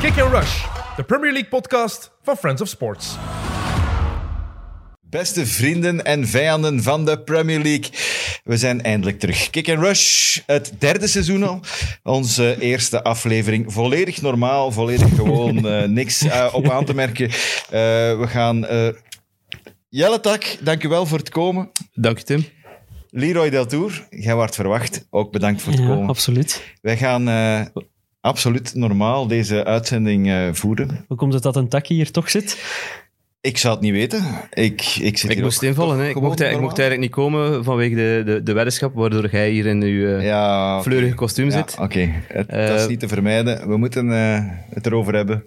Kick and Rush, de Premier League podcast van Friends of Sports. Beste vrienden en vijanden van de Premier League, we zijn eindelijk terug. Kick and Rush, het derde seizoen al. Onze eerste aflevering, volledig normaal, volledig gewoon, eh, niks eh, op aan te merken. Eh, we gaan... eh, Jelle Tak, dank u wel voor het komen. Dank je, Tim. Leroy Deltour, jij werd verwacht. Ook bedankt voor het Ja, komen. absoluut. Wij gaan eh, absoluut normaal deze uitzending eh, voeren. Hoe komt het dat een takkie hier toch zit? Ik zou het niet weten. Ik, ik zit Ik hier moest ook invallen. toch Hè. Ik, gewoon mocht, ik mocht normaal. eigenlijk niet komen vanwege de, de, de weddenschap, waardoor jij hier in uw eh, Ja, oké. fleurige kostuum Ja, zit. oké. Het- dat is Eh, niet te vermijden. We moeten eh, het erover hebben.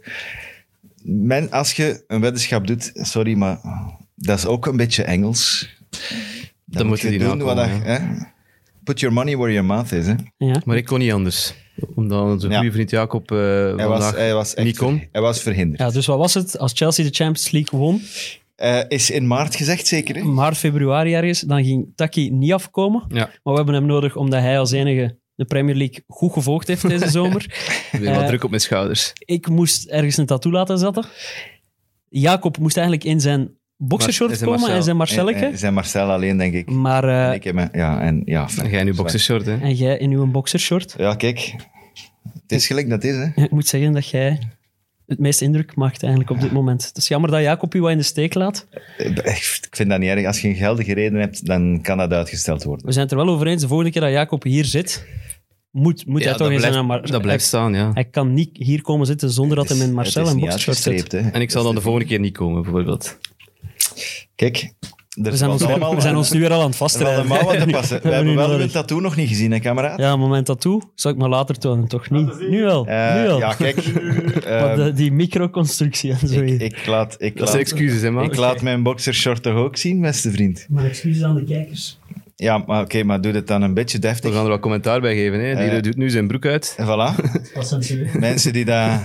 Men, als je een weddenschap doet, sorry, maar dat is ook een beetje Engels. Dan, moet je die wat dat, nakomen, hè? Put your money where your mouth is. Hè? Ja. Maar ik kon niet anders. Omdat onze Ja. goede vriend Jacob eh, Hij, was, vandaag hij, was echt niet kon. ver- hij was verhinderd. ja, dus wat was het? Als Chelsea de Champions League won, Eh, is in maart gezegd, zeker? Hè? maart, februari ergens, dan ging Taki niet afkomen. Ja, Maar we hebben hem nodig omdat hij als enige de Premier League goed gevolgd heeft deze zomer. weer wat Eh, druk op mijn schouders. Ik moest ergens een tattoo laten zetten. Jacob moest eigenlijk in zijn boxershort Mar- in zijn komen en Marcel. zijn Eh, eh, Marcelletje. Zijn Marcel alleen, denk ik. Maar eh, En ik heb hem- ja, en, ja, En jij in uw boxershort, hè? en jij in uw boxershort. Ja, kijk. Het is gelijk dat het is, hè. Ja, Ik moet zeggen dat jij het meest indruk maakt eigenlijk op dit moment. Het is jammer dat Jacob u wat in de steek laat. Ik vind dat niet erg. Als je een geldige reden hebt, dan kan dat uitgesteld worden. We zijn het er wel over eens. De volgende keer dat Jacob hier zit, moet, moet Ja, hij toch dat, eens blijft, aan maar dat blijft staan, ja. Hij, hij kan niet hier komen zitten zonder dat Het hij is- in het Marcel is en niet boxershort zit. uitgestreept, hè. En ik zal dan de volgende keer niet komen, bijvoorbeeld. Kijk, er We zijn, ons, valt allemaal, we zijn ons nu weer al aan het er valt vastrijden. allemaal wat te passen. We Hebben hebben we nu wel een nodig. tattoo nog niet gezien, hè, kameraad? Ja, moment dat toe, zal ik maar later tonen, toch niet? Nu wel, Eh, nu wel. ja, kijk. eh, Wat de- die microconstructie en zo. ik, hier. ik laat, ik Dat laat, zijn excuses, hè, man. ik laat mijn boxershort toch ook zien, beste vriend? Maar excuses aan de kijkers. Ja, maar oké, maar doe het dan een beetje We deftig. gaan er wat commentaar bij geven, hè. Die Eh. doet nu zijn broek uit. En Voilà. Mensen die daar...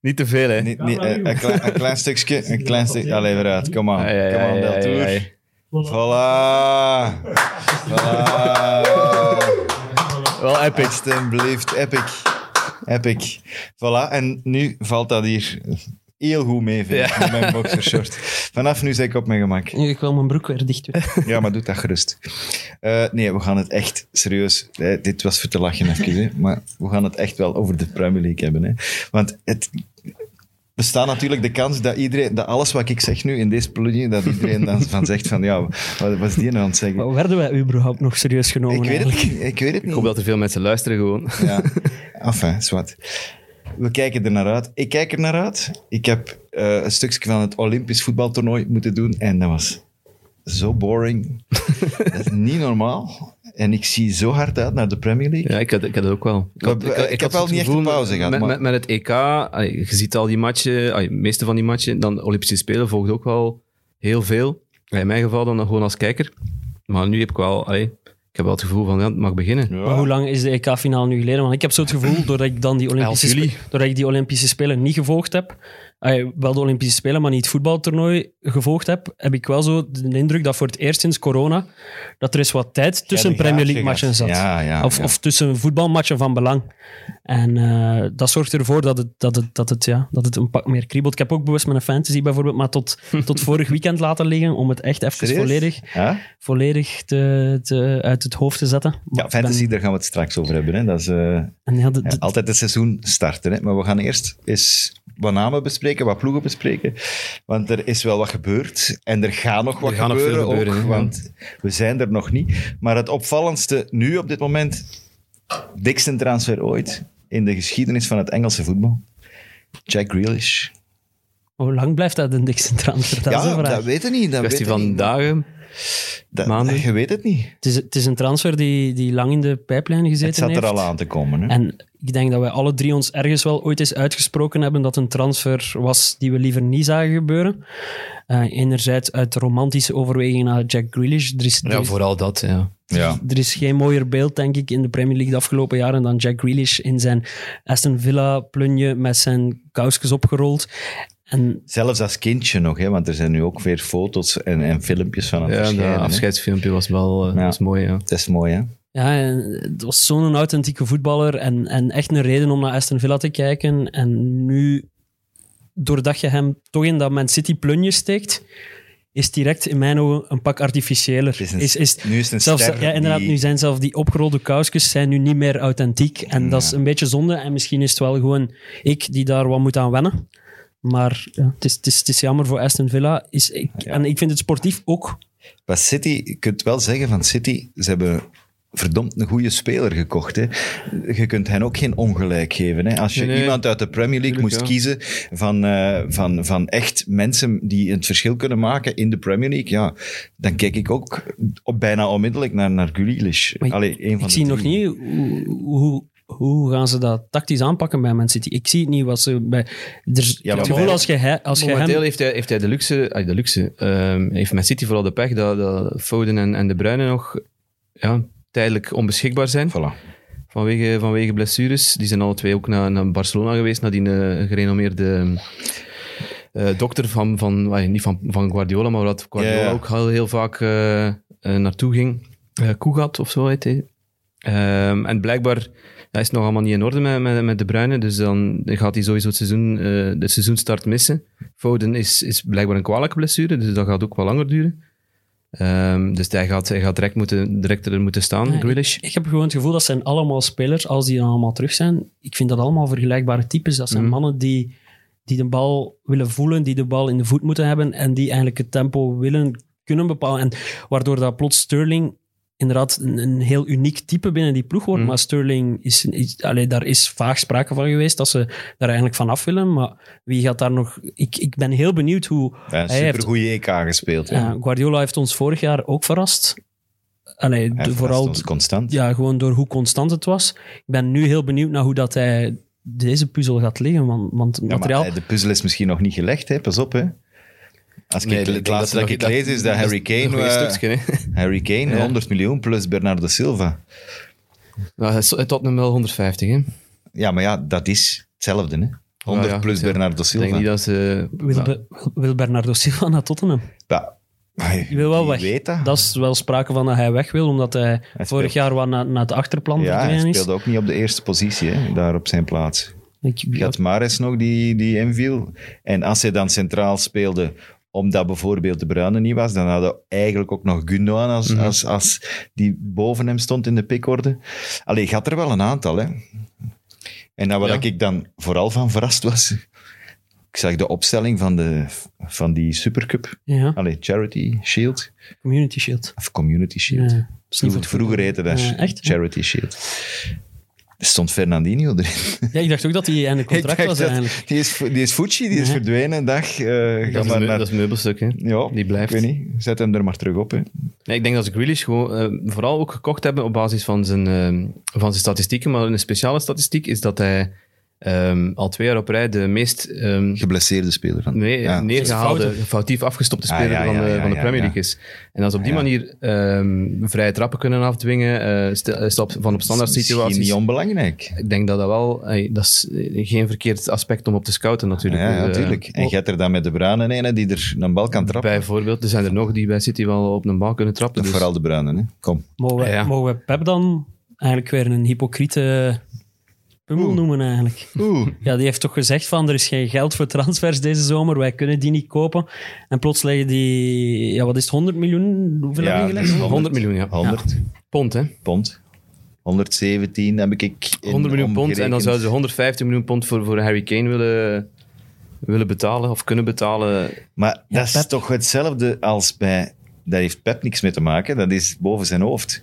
Niet te veel, hè? Niet, niet, eh, een, klein, een klein stukje, een klein stukje... Allee, vooruit, kom aan. Ai, ai, Kom aan, ai, ai, Deltour. ai. Voilà. Voilà. Wel epic. Alsjeblieft. Epic. Epic. Voilà. En nu valt dat hier heel goed mee, vind ik, met mijn boxershort. Vanaf nu zit ik op mijn gemak. Ik wil mijn broek weer dicht doen. Ja, maar doe dat gerust. Eh, nee, we gaan het echt serieus... eh, dit was voor te lachen even, hè, maar we gaan het echt wel over de Premier League hebben. Hè. Want het... Bestaat natuurlijk de kans dat iedereen, dat alles wat ik zeg nu in deze plugin, dat iedereen dan van zegt van ja, wat was die nou aan het zeggen? Maar werden wij überhaupt nog serieus genomen? Ik weet het eigenlijk? niet. Ik weet het Ik niet. hoop dat er veel mensen luisteren gewoon. Ja. Enfin, zwart. We kijken er naar uit. Ik kijk er naar uit. Ik heb eh, een stukje van het Olympisch voetbaltoernooi moeten doen en dat was zo boring. dat is niet normaal. En ik zie zo hard uit naar de Premier League. Ja, ik had, ik had het ook wel. Ik, Maar, eh, ik heb wel het niet echt gevoel een pauze met- gehad, Met, maar- met, met het EK, allee, je ziet al die matchen, allee, de meeste van die matchen, dan de Olympische Spelen volgt ook wel heel veel. In mijn geval dan nog gewoon als kijker. Maar nu heb ik wel, allee, ik heb wel het gevoel van, ja, het mag beginnen. Maar hoe lang is de EK-finale nu geleden? Want ik heb zo het gevoel, doordat ik dan die Olympische, juli. spe- doordat ik die Olympische Spelen niet gevolgd heb, eh, wel de Olympische Spelen, maar niet het voetbaltoernooi gevolgd heb, heb ik wel zo de indruk dat voor het eerst sinds corona, dat er eens wat tijd tussen de Premier gaatje League-matchen gaat. zat. Ja, ja, of, ja. of tussen voetbalmatchen van belang. En eh, dat zorgt ervoor dat het, dat, het, dat, het, ja, dat het een pak meer kriebelt. Ik heb ook bewust mijn fantasy bijvoorbeeld, maar tot, tot vorig weekend laten liggen om het echt even Serieus? volledig, Ja? volledig te, te- uit het hoofd te zetten. Maar Ja, ik ben- fantasy, daar gaan we het straks over hebben. Hè. Dat is, eh, en ja, de- Ja, de- altijd het seizoen starten. Hè? Maar we gaan eerst eens wat namen bespreken, wat ploegen bespreken. Want er is wel wat gebeurd. En er gaat nog wat gaat nog gebeuren, veel gebeuren, ook, hè, ja. want we zijn er nog niet. Maar het opvallendste nu op dit moment, dikste transfer ooit in de geschiedenis van het Engelse voetbal. Jack Grealish. Hoe lang blijft dat een dikste transfer? Dat is een ja, vraag. dat weet ik niet. Dat Kwestie weet ik van niet. dagen. Dat- maanden. Je weet het niet. Het, is, het is een transfer die, die lang in de pijplijn gezeten Het zat er heeft. al aan te komen. Hè? En ik denk dat wij alle drie ons ergens wel ooit eens uitgesproken hebben dat een transfer was die we liever niet zagen gebeuren. Eh, enerzijds uit romantische overwegingen naar Jack Grealish. Er is, er Ja, is- vooral dat, ja. ja. Er is geen mooier beeld, denk ik, in de Premier League de afgelopen jaren dan Jack Grealish in zijn Aston Villa-plunje met zijn kousjes opgerold. En Zelfs als kindje nog, hè? want er zijn nu ook weer foto's en, en filmpjes van het ja verschijnen. dat hè. afscheidsfilmpje was wel eh, Ja. was mooi, ja. Dat is mooi, hè? Ja, en het was zo'n authentieke voetballer en, en echt een reden om naar Aston Villa te kijken. En nu, doordat je hem toch in dat Man City plunje steekt, is direct in mijn ogen een pak artificiëler. is een- is, is, Nu is het een zelfs, ster ja, inderdaad, die- nu zijn zelfs die opgerolde kousjes zijn nu niet meer authentiek. En dat is een beetje zonde. En misschien is het wel gewoon ik die daar wat moet aan wennen. Maar ja, het, is, het, is, het is jammer voor Aston Villa. Is, ik, En ik vind het sportief ook Wat City, je kunt wel zeggen van City, ze hebben verdomd een goede speler gekocht. Hè. Je kunt hen ook geen ongelijk geven. Hè. Als je Nee, nee. iemand uit de Premier League moest Tuurlijk, kiezen van, eh, van, van echt mensen die het verschil kunnen maken in de Premier League, ja, dan kijk ik ook op, bijna onmiddellijk naar, naar Grealish. Maar ik- Allee, een van Ik de zie nog drie. niet hoe, hoe, hoe gaan ze dat tactisch aanpakken bij Man City. Ik zie het niet wat ze bij... Er, is maar het gevoel bij- als je, he- als je hem... Momenteel heeft hij, heeft hij de luxe, ah, de luxe ehm, heeft Man City vooral de pech dat, dat Foden en, en De Bruyne nog ja, tijdelijk onbeschikbaar zijn. Voilà. Vanwege, vanwege blessures. Die zijn alle twee ook naar, naar Barcelona geweest, naar die eh, gerenommeerde eh, dokter van, van ah, niet van, van Guardiola, maar wat Guardiola Ja, ja. ook heel, heel vaak eh, eh, naartoe ging. eh Kugat of zo heet hij. Ehm, en blijkbaar hij is het nog allemaal niet in orde met, met, met De Bruyne, dus dan gaat hij sowieso het seizoen, eh, de seizoenstart missen. Foden is, is blijkbaar een kwalijke blessure, dus dat gaat ook wel langer duren. Ehm, dus hij gaat, hij gaat direct, moeten, direct er moeten staan, Ja, Grealish. Ik heb gewoon het gevoel dat zijn allemaal spelers, als die dan allemaal terug zijn, ik vind dat allemaal vergelijkbare types. Dat zijn Mhm. mannen die, die de bal willen voelen, die de bal in de voet moeten hebben en die eigenlijk het tempo willen kunnen bepalen. En waardoor dat plots Sterling inderdaad een, een heel uniek type binnen die ploeg wordt. Mhm. Maar Sterling, is, is, allee, daar is vaag sprake van geweest dat ze daar eigenlijk vanaf willen. Maar wie gaat daar nog... Ik, ik ben heel benieuwd hoe... Ja, een Hij heeft- supergoeie EK gespeeld. hè. ja, Guardiola heeft ons vorig jaar ook verrast. Allee, Hij de- verrast vooral ons constant. ja, gewoon door hoe constant het was. Ik ben nu heel benieuwd naar hoe dat hij deze puzzel gaat liggen. Want, want het Ja, maar materiaal... hij- de puzzel is misschien nog niet gelegd, hè? pas op. Hè? Als Nee, ik, ik het denk laatste dat dat, er ik nog- lees is dat dat- Harry Kane, Nog een eh, stukje, hè. Harry Kane Ja. 100 miljoen plus Bernardo Silva. Nou, het is- het Tottenham wel 150, hè. Ja, maar ja, dat is hetzelfde. Hè? 100 ja, plus ja. Bernardo Ik denk Silva. niet dat ze... Wil, nou, Be- wil- wil Bernardo Silva naar Tottenham? Ja. Die wil wel Wie weg. weet dat? Dat is wel sprake van dat hij weg wil, omdat hij, speelt- vorig jaar wat na- naar het achterplan ja, hij verdwenen is. speelde ook niet op de eerste positie, hè, daar op zijn plaats. Ik, Je had Mares nog die, die inviel. En als hij dan centraal speelde, omdat bijvoorbeeld de Bruyne niet was, dan hadden we eigenlijk ook nog Gundogan als, Mhm. als, als die boven hem stond in de pikorde. Allee, je had er wel een aantal, hè. En dan waar Ja. ik dan vooral van verrast was, ik zag de opstelling van, de, van die Supercup. ja, Allee, Charity Shield. Community Shield. Of Community Shield. Ja, is niet Vroeger, voor- vroeger heette dat Ja, echt? Charity Shield. Er stond Fernandinho erin. Ja, ik dacht ook dat hij aan de Ik contract dacht was dat- eigenlijk. Die is, fu- die is Fuji, die is Ja. verdwenen. een Dag, eh, ga dat, is maar een, naar... dat is een meubelstuk, hè. ja, die blijft. Ik weet niet. Zet hem er maar terug op. Hè. Nee, ik denk dat ze Grealish gewoon, eh, vooral ook gekocht hebben op basis van zijn, ehm, van zijn statistieken. Maar een speciale statistiek is dat hij ehm, al twee jaar op rij de meest ehm, Geblesseerde speler van. nee, Ja. neergehaalde, Fouten. foutief afgestopte Ah, speler ja, van, ja, de, ja, van de ja, Premier ja. Ah, League is. En als ze op die Ja. manier ehm, vrije trappen kunnen afdwingen, eh, stel- stap van op standaard Dat is misschien situaties. niet onbelangrijk. Ik denk dat dat wel, eh, dat is eh, geen verkeerd aspect om op te scouten natuurlijk. Ja, Eh, natuurlijk. En je hebt er dan met de Bruinen ene die er een bal kan trappen. Bijvoorbeeld, er zijn er nog die bij City wel op een bal kunnen trappen. Dat Dus Vooral de Bruinen. Hè. Kom. Mogen we, Ja. mogen we Pep dan eigenlijk weer een hypocriete pummel noemen eigenlijk? Oeh. Ja, die heeft toch gezegd van er is geen geld voor transfers deze zomer, wij kunnen die niet kopen. En plots leggen die, ja wat is het, 100 miljoen? Hoeveel Ja, hebben die dat is gelegd? 100 miljoen, ja. 100 Pond, hè. pond. 117 heb ik. in 100 miljoen pond. En dan omgerekend. zouden ze 150 miljoen pond voor, voor Harry Kane willen, willen betalen of kunnen betalen. Maar dat is Pep- toch hetzelfde als bij... Daar heeft Pep niks mee te maken, dat is boven zijn hoofd.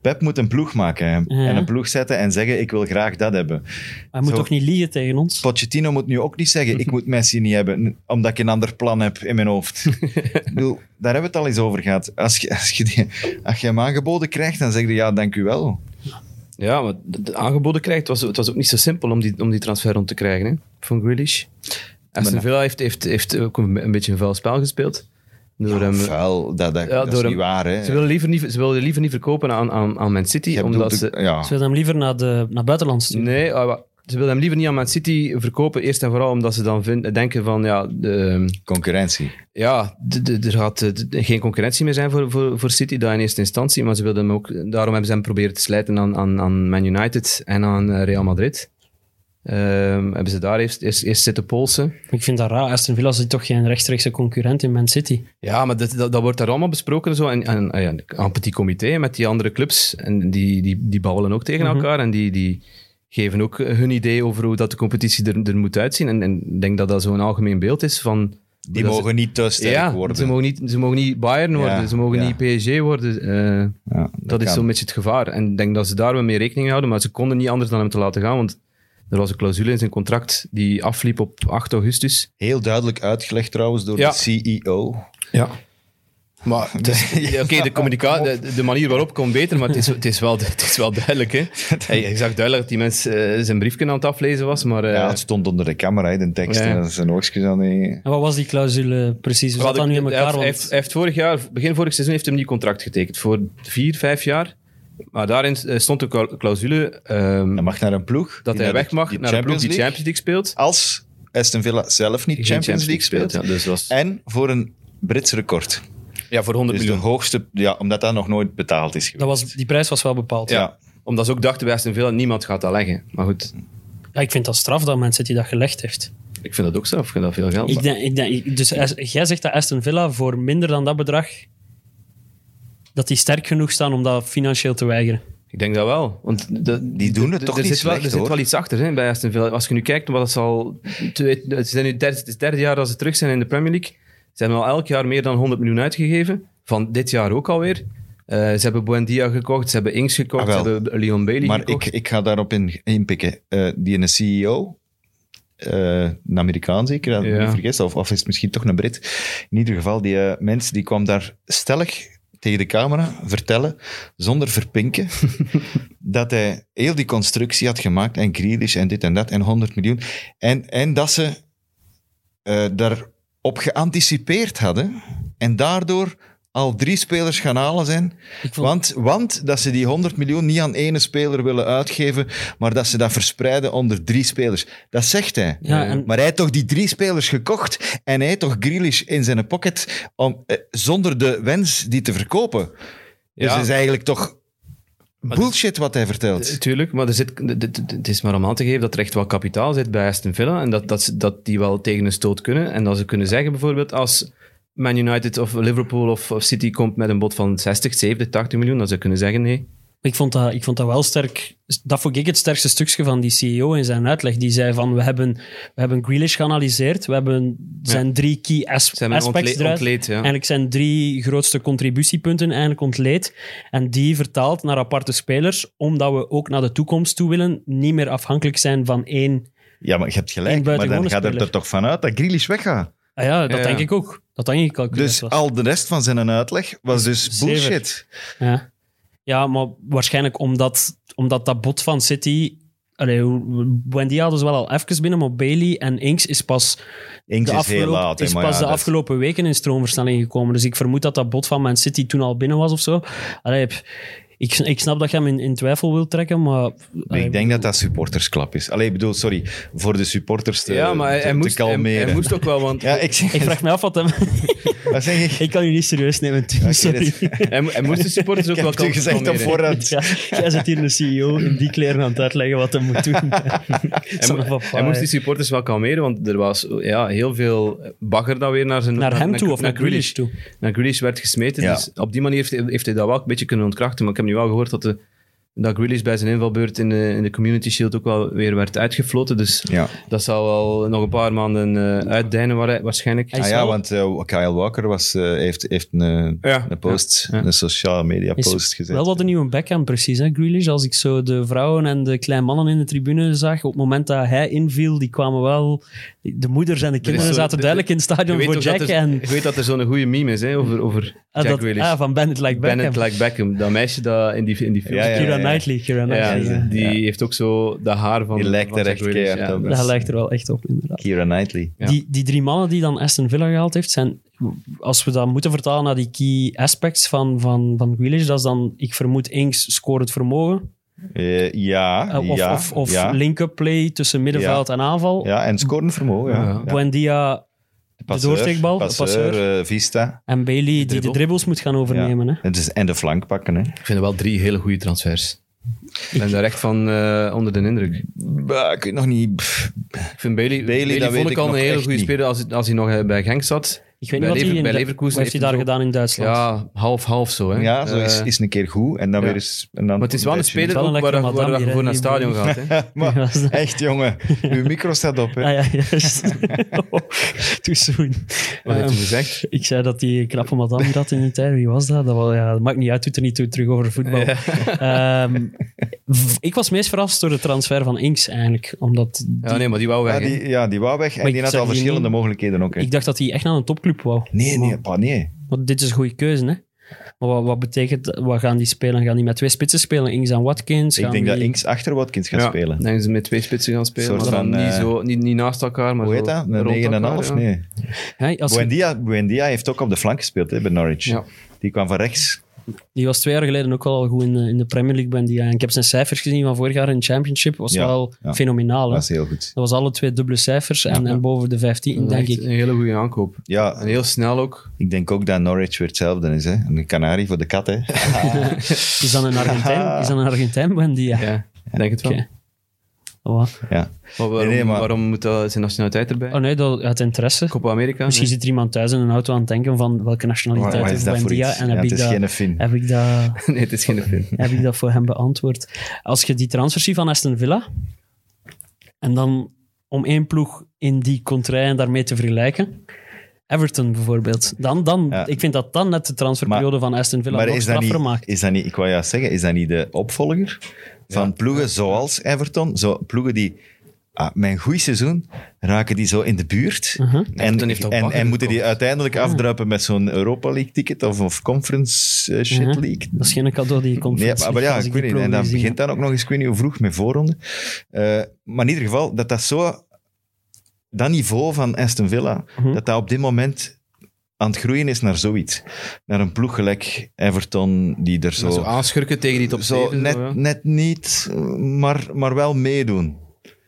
Pep moet een ploeg maken hè, Ja. en een ploeg zetten en zeggen, ik wil graag dat hebben. Hij moet Zo. toch niet liegen tegen ons? Pochettino moet nu ook niet zeggen, ik moet Messi niet hebben, omdat ik een ander plan heb in mijn hoofd. ik bedoel, daar hebben we het al eens over gehad. Als je, als je, die- als je hem aangeboden krijgt, dan zeg je, ja, dank u wel. Ja, maar de, de aangeboden krijgt, het was, het was ook niet zo simpel om die, om die transfer rond te krijgen hè, van Grealish. Aston Maar- Villa heeft, heeft, heeft ook een, een beetje een vuil spel gespeeld. Door hem, Vuil, dat, dat, ja, dat is door hem- niet waar. Hè. ze, wilden liever niet, ze wilden liever niet verkopen aan, aan, aan Man City, Je omdat bedoelt ze... de- ja. Ze willen hem liever naar, de, naar buitenland sturen. Nee, ah, wa- ze willen hem liever niet aan Man City verkopen. Eerst en vooral omdat ze dan vinden, denken van ja, de, Concurrentie. ja de- de- er gaat eh, de- geen concurrentie meer zijn voor, voor, voor City, dat in eerste instantie. Maar ze wilden hem ook, daarom hebben ze hem proberen te slijten aan, aan, aan Man United en aan eh, Real Madrid. Ehm, hebben ze daar eerst, eerst, eerst zitten polsen. Ik vind dat raar. Aston Villa is toch geen rechtstreekse concurrent in Man City. Ja, maar dat, dat, dat wordt daar allemaal besproken. Zo. En, en, ah ja, aan petit comité met die andere clubs. En die, die, die babbelen ook tegen elkaar. En die, die geven ook hun idee over hoe dat de competitie er, er moet uitzien. En en ik denk dat dat zo'n algemeen beeld is van... Die dat ze- mogen niet te sterk ja, worden. Ze mogen, niet, ze mogen niet Bayern worden, ze mogen ja. niet PSG worden. eh, Ja, dat is kan. zo'n beetje het gevaar. En ik denk dat ze daar wel mee rekening houden. Maar ze konden niet anders dan hem te laten gaan. Want er was een clausule in zijn contract die afliep op 8 augustus. Heel duidelijk uitgelegd trouwens door Ja. de E CEO. Ja. Maar het is- ja, oké, de, communica- de, de manier waarop kon beter, maar het is, het is, wel, het is wel duidelijk. Hè? Hey, ik zag duidelijk dat die mens eh, zijn briefje aan het aflezen was, maar eh, Ja, het stond onder de camera, hè, de tekst. Ja. En zijn oogstjes aan die... En wat was die clausule precies? We wat zat dat ik- nu in hij elkaar? heeft- hij, Want heeft, hij heeft vorig jaar, begin vorig seizoen, heeft hij een nieuw contract getekend voor vier, vijf jaar. Maar daarin eh, stond een cla- clausule ehm, Hij mag naar een ploeg. dat die hij naar weg de- mag die naar een ploeg die Champions Champions League speelt. League- Als Aston Villa zelf niet Die Champions, League speelt. Ja, dus dat was, En voor een Brits record. ja, voor 100 Dus de miljoen. hoogste... Ja, omdat dat nog nooit betaald is geweest. dat was, die prijs was wel bepaald. Ja. Omdat ze ook dachten bij Aston Villa, niemand gaat dat leggen. Maar goed, Ja, ik vind dat straf dat Man City dat gelegd heeft. ik vind dat ook zelf, ik vind dat veel geld. Ik denk, ik denk, ik- dus als- jij zegt dat Aston Villa voor minder dan dat bedrag... dat die sterk genoeg staan om dat financieel te weigeren. Ik denk dat wel. Want de- Die doen het de- toch er niet zit wel, slecht, Er zit hoor. wel iets achter hè, bij Aston Villa. Als je nu kijkt, wat het al... Twee, het, zijn nu derde, het is het derde jaar dat ze terug zijn in de Premier League. Ze hebben al elk jaar meer dan 100 miljoen uitgegeven. Van dit jaar ook alweer. Eh, ze hebben Buendia gekocht, ze hebben Ings gekocht, Ah, wel. ze hebben Leon Bailey Maar ik, gekocht. ik ga daarop in, inpikken. Eh, die een CEO, eh, een Amerikaan zeker, dat heb ik Ja. niet vergis, of, of is het misschien toch een Brit. In ieder geval, die eh, mens die kwam daar stellig tegen de camera vertellen, zonder verpinken, dat hij heel die constructie had gemaakt en Grealish en dit en dat en 100 miljoen. En, en dat ze eh, daarop geanticipeerd hadden en daardoor al drie spelers gaan halen zijn. Want, want dat ze die 100 miljoen niet aan ene speler willen uitgeven, maar dat ze dat verspreiden onder drie spelers. Dat zegt hij. Ja, en- Maar hij heeft toch die drie spelers gekocht en hij heeft toch Grealish in zijn pocket om, eh, zonder de wens die te verkopen. Dus Ja. het is eigenlijk toch bullshit wat hij vertelt. Tuurlijk, maar er zit, d- d- d- het is maar om aan te geven dat er echt wel kapitaal zit bij Aston Villa. En dat, dat, ze- dat die wel tegen een stoot kunnen. En dat ze kunnen zeggen bijvoorbeeld als Man United of Liverpool of, of City komt met een bod van 60, 70, 80 miljoen. Dat ze kunnen zeggen nee. Ik vond, dat, ik vond dat wel sterk. Dat vond ik het sterkste stukje van die CEO in zijn uitleg. Die zei van, we hebben, we hebben Grealish geanalyseerd. We hebben zijn drie key as- Ze hebben hem aspects ontle- eruit. ontleed. Ja. Eigenlijk zijn drie grootste contributiepunten eigenlijk ontleed. En die vertaald naar aparte spelers. Omdat we ook naar de toekomst toe willen. Niet meer afhankelijk zijn van één... Ja, maar je hebt Eén gelijk. Maar dan buitengewone gaat het er speler. toch vanuit dat Grealish weggaat. Ah ja, dat Ja, denk ja. ik ook. Dat denk ik al. Dus was. al de rest van zijn uitleg was dus Zever. bullshit. Ja. ja, maar waarschijnlijk omdat, omdat dat bot van City... Allee, hoe- Buendia hadden ze wel al even binnen, maar Bailey en Inks is pas Inks de is heel afgelopen, laat. hè, is maar pas ja, de dat- afgelopen weken in stroomversnelling gekomen. Dus ik vermoed dat dat bod van Man City toen al binnen was of zo. Allee, p- ik, ik snap dat je hem in, in twijfel wilt trekken, maar... Nee, allee, ik denk dat dat supportersklap is. Allee, ik bedoel, sorry, voor de supporters te, ja, maar hij, te, hij te moest, hij, kalmeren. hij moest ook wel, want Ja, ik zeg, ik vraag me af wat hem... wat zeg ik? ik kan u niet serieus nemen, Tim, Oké, sorry. dat- hij, mo- hij moest de supporters ook Ik wel heb het u gezegd op kalmeren. voorhand. Ja, jij zit hier de CEO in die kleren aan het uitleggen wat hij moet doen. Hij, mo- hij moest die supporters wel kalmeren, want er was ja, heel veel bagger dat weer naar, zijn, Naar hem toe of naar Grealish Grealish. toe. naar Grealish werd gesmeten. Ja. Dus op die manier heeft, heeft hij dat wel een beetje kunnen ontkrachten. Maar ik heb nu wel gehoord dat, de, dat Grealish bij zijn invalbeurt in de, in de Community Shield ook wel weer werd uitgefloten. Dus Ja. dat zal wel nog een paar maanden eh uitdijnen waar- waarschijnlijk. Hij Ah is ja, wel- want eh, Kyle Walker was, eh, heeft, heeft een, Ja. een post, Ja. een sociale media Is post gezet. Wel wat een nieuwe backhand precies, hè, Grealish. Als ik zo de vrouwen en de kleine mannen in de tribune zag, op het moment dat hij inviel, die kwamen wel... De moeders en de kinderen zo- zaten de- duidelijk in het Je stadion weet, voor toch Jack. dat er, en, je weet dat er zo'n goede meme is hè, over, over ah, Jack dat- Grealish. ah, van Bennett like Beckham. Bennett like Beckham, dat meisje dat in die, in die film Ja, ja, Keira ja, ja. Knightley. Keira Ja, Knightley. Ja, die heeft ook zo dat haar van. Die lijkt van er Jack echt Grealish, keihard ja. op. Dat lijkt er wel echt op, inderdaad. Kira Knightley. Ja. Die, die drie mannen die dan Aston Villa gehaald heeft, zijn, als we dat moeten vertalen naar die key aspects van, van, van Grealish, dat is dan, ik vermoed, Inks scorend vermogen. Eh, ja, Eh, of ja, of, of ja, link-up play tussen middenveld en aanval. ja, en scorenvermogen. Ja. Ja. Ja. Buendia Passeur, doorsteekbal, de Passeur, passeur. eh, Vista. en Bailey die de dribbel. dribbles moet gaan overnemen. Hè? Het is, en de flank pakken. Hè. Ik vind er wel drie hele goede transfers. Ik ben daar echt van eh, onder de indruk. Bah, ik weet nog niet... pff, Ik vind Bailey, Bailey, Bailey, dat weet vond ik ik al nog een hele echt goede niet. speler als, hij- als hij nog eh, bij Genk zat. Ik weet Bij niet wat Lever- hij in bij Du- Leverkusen wat heeft hij heeft daar hij zo- gedaan in Duitsland. Ja, half-half zo. Hè. ja, zo is, Eh, is een keer goed. En dan ja. weer eens... En dan maar het is wel een beetje- speler Wel een ook waar, waar lekkere madame je hier, hè, voor naar het die stadion gaat. Hè. maar, echt, jongen. Uw micro staat op. Hè. Ah ja, juist. oh, too soon. Wat heeft Ehm, hij gezegd? ik zei dat die knappe madame die dat in de tijd. Wie was dat? Dat, was, ja, dat maakt niet uit, doet er niet toe terug over voetbal. Ehm, v- ik was meest verrast door de transfer van Inks eigenlijk. Omdat die- Ja, nee, maar die wou weg. Ja, hè. die, ja, die wou weg. En ik die had zeg al die verschillende niet- mogelijkheden ook. Hè. ik dacht dat hij echt naar een topclub wou. Nee, nee, pa, nee. Want dit is een goede keuze, hè? Maar wat, wat betekent, wat gaan die spelen? Gaan die met twee spitsen spelen? Inks en Watkins? Ik Gaan denk dat die- Inks achter Watkins gaat ja, spelen. Ik denk dat ze met twee spitsen gaan spelen. Soort maar dan van, niet, eh, zo, niet, niet naast elkaar, maar Hoe heet zo dat? rond Een 9,5? elkaar, ja. Nee. Hè, als je- Buendia, Buendia heeft ook op de flank gespeeld hè, bij Norwich. Ja. Die kwam van rechts. Die was twee jaar geleden ook al goed in de, in de Premier League. Ben die, eh, en ik heb zijn cijfers gezien van vorig jaar in de Championship. was Ja, wel ja. fenomenaal. hè. Dat is heel goed. Dat was alle twee dubbele cijfers en, en boven de 15, Dat is denk echt ik. Een hele goede aankoop. En Ja, heel snel ook. ik denk ook dat Norwich weer hetzelfde is. Hè. Een kanarie voor de kat. Hè. Is dat een Argentijn? Is dat een Argentijn, Ben die? Ja. Ja, ik denk het wel. Oké. Oh, Ja. Maar waarom, Nee, nee, maar- waarom moet dat zijn nationaliteit erbij? oh nee, dat, uit interesse. Copa America? Misschien Nee. zit er iemand thuis in een auto aan het denken van welke nationaliteit Wat is heeft dat voor Buendia? iets? En Ja, heb, het ik is dat, geen Fin. heb ik dat... Nee, het is geen film. heb ik dat voor hem beantwoord. Als je die transfer ziet van Aston Villa, en dan om één ploeg in die contraien daarmee te vergelijken, Everton bijvoorbeeld, dan, dan, Ja. ik vind dat dan net de transferperiode van Aston Villa Maar nog is dat, straffer niet, maakt. is dat niet, ik wou juist zeggen, is dat niet de opvolger van ploegen zoals Everton? Zo, ploegen die, ah, mijn goeie seizoen, raken die zo in de buurt. En, Uh-huh. Everton heeft al en, bakken en moeten die gekocht. uiteindelijk afdruipen met zo'n Europa League ticket of, of Conference eh, Shit Mhm. League. Dat is geen cadeau die je komt Nee, maar, maar ja, ik weet niet. En dan begint dan ook nog eens, ik weet niet hoe vroeg, met voorronden. Eh, maar in ieder geval, dat dat zo... Dat niveau van Aston Villa, Mhm. dat dat op dit moment aan het groeien is naar zoiets. Naar een ploeg gelijk Everton, die er Zo. zo... aanschurken tegen die top Zo, 7. net, zo, ja. net niet, maar, maar wel meedoen.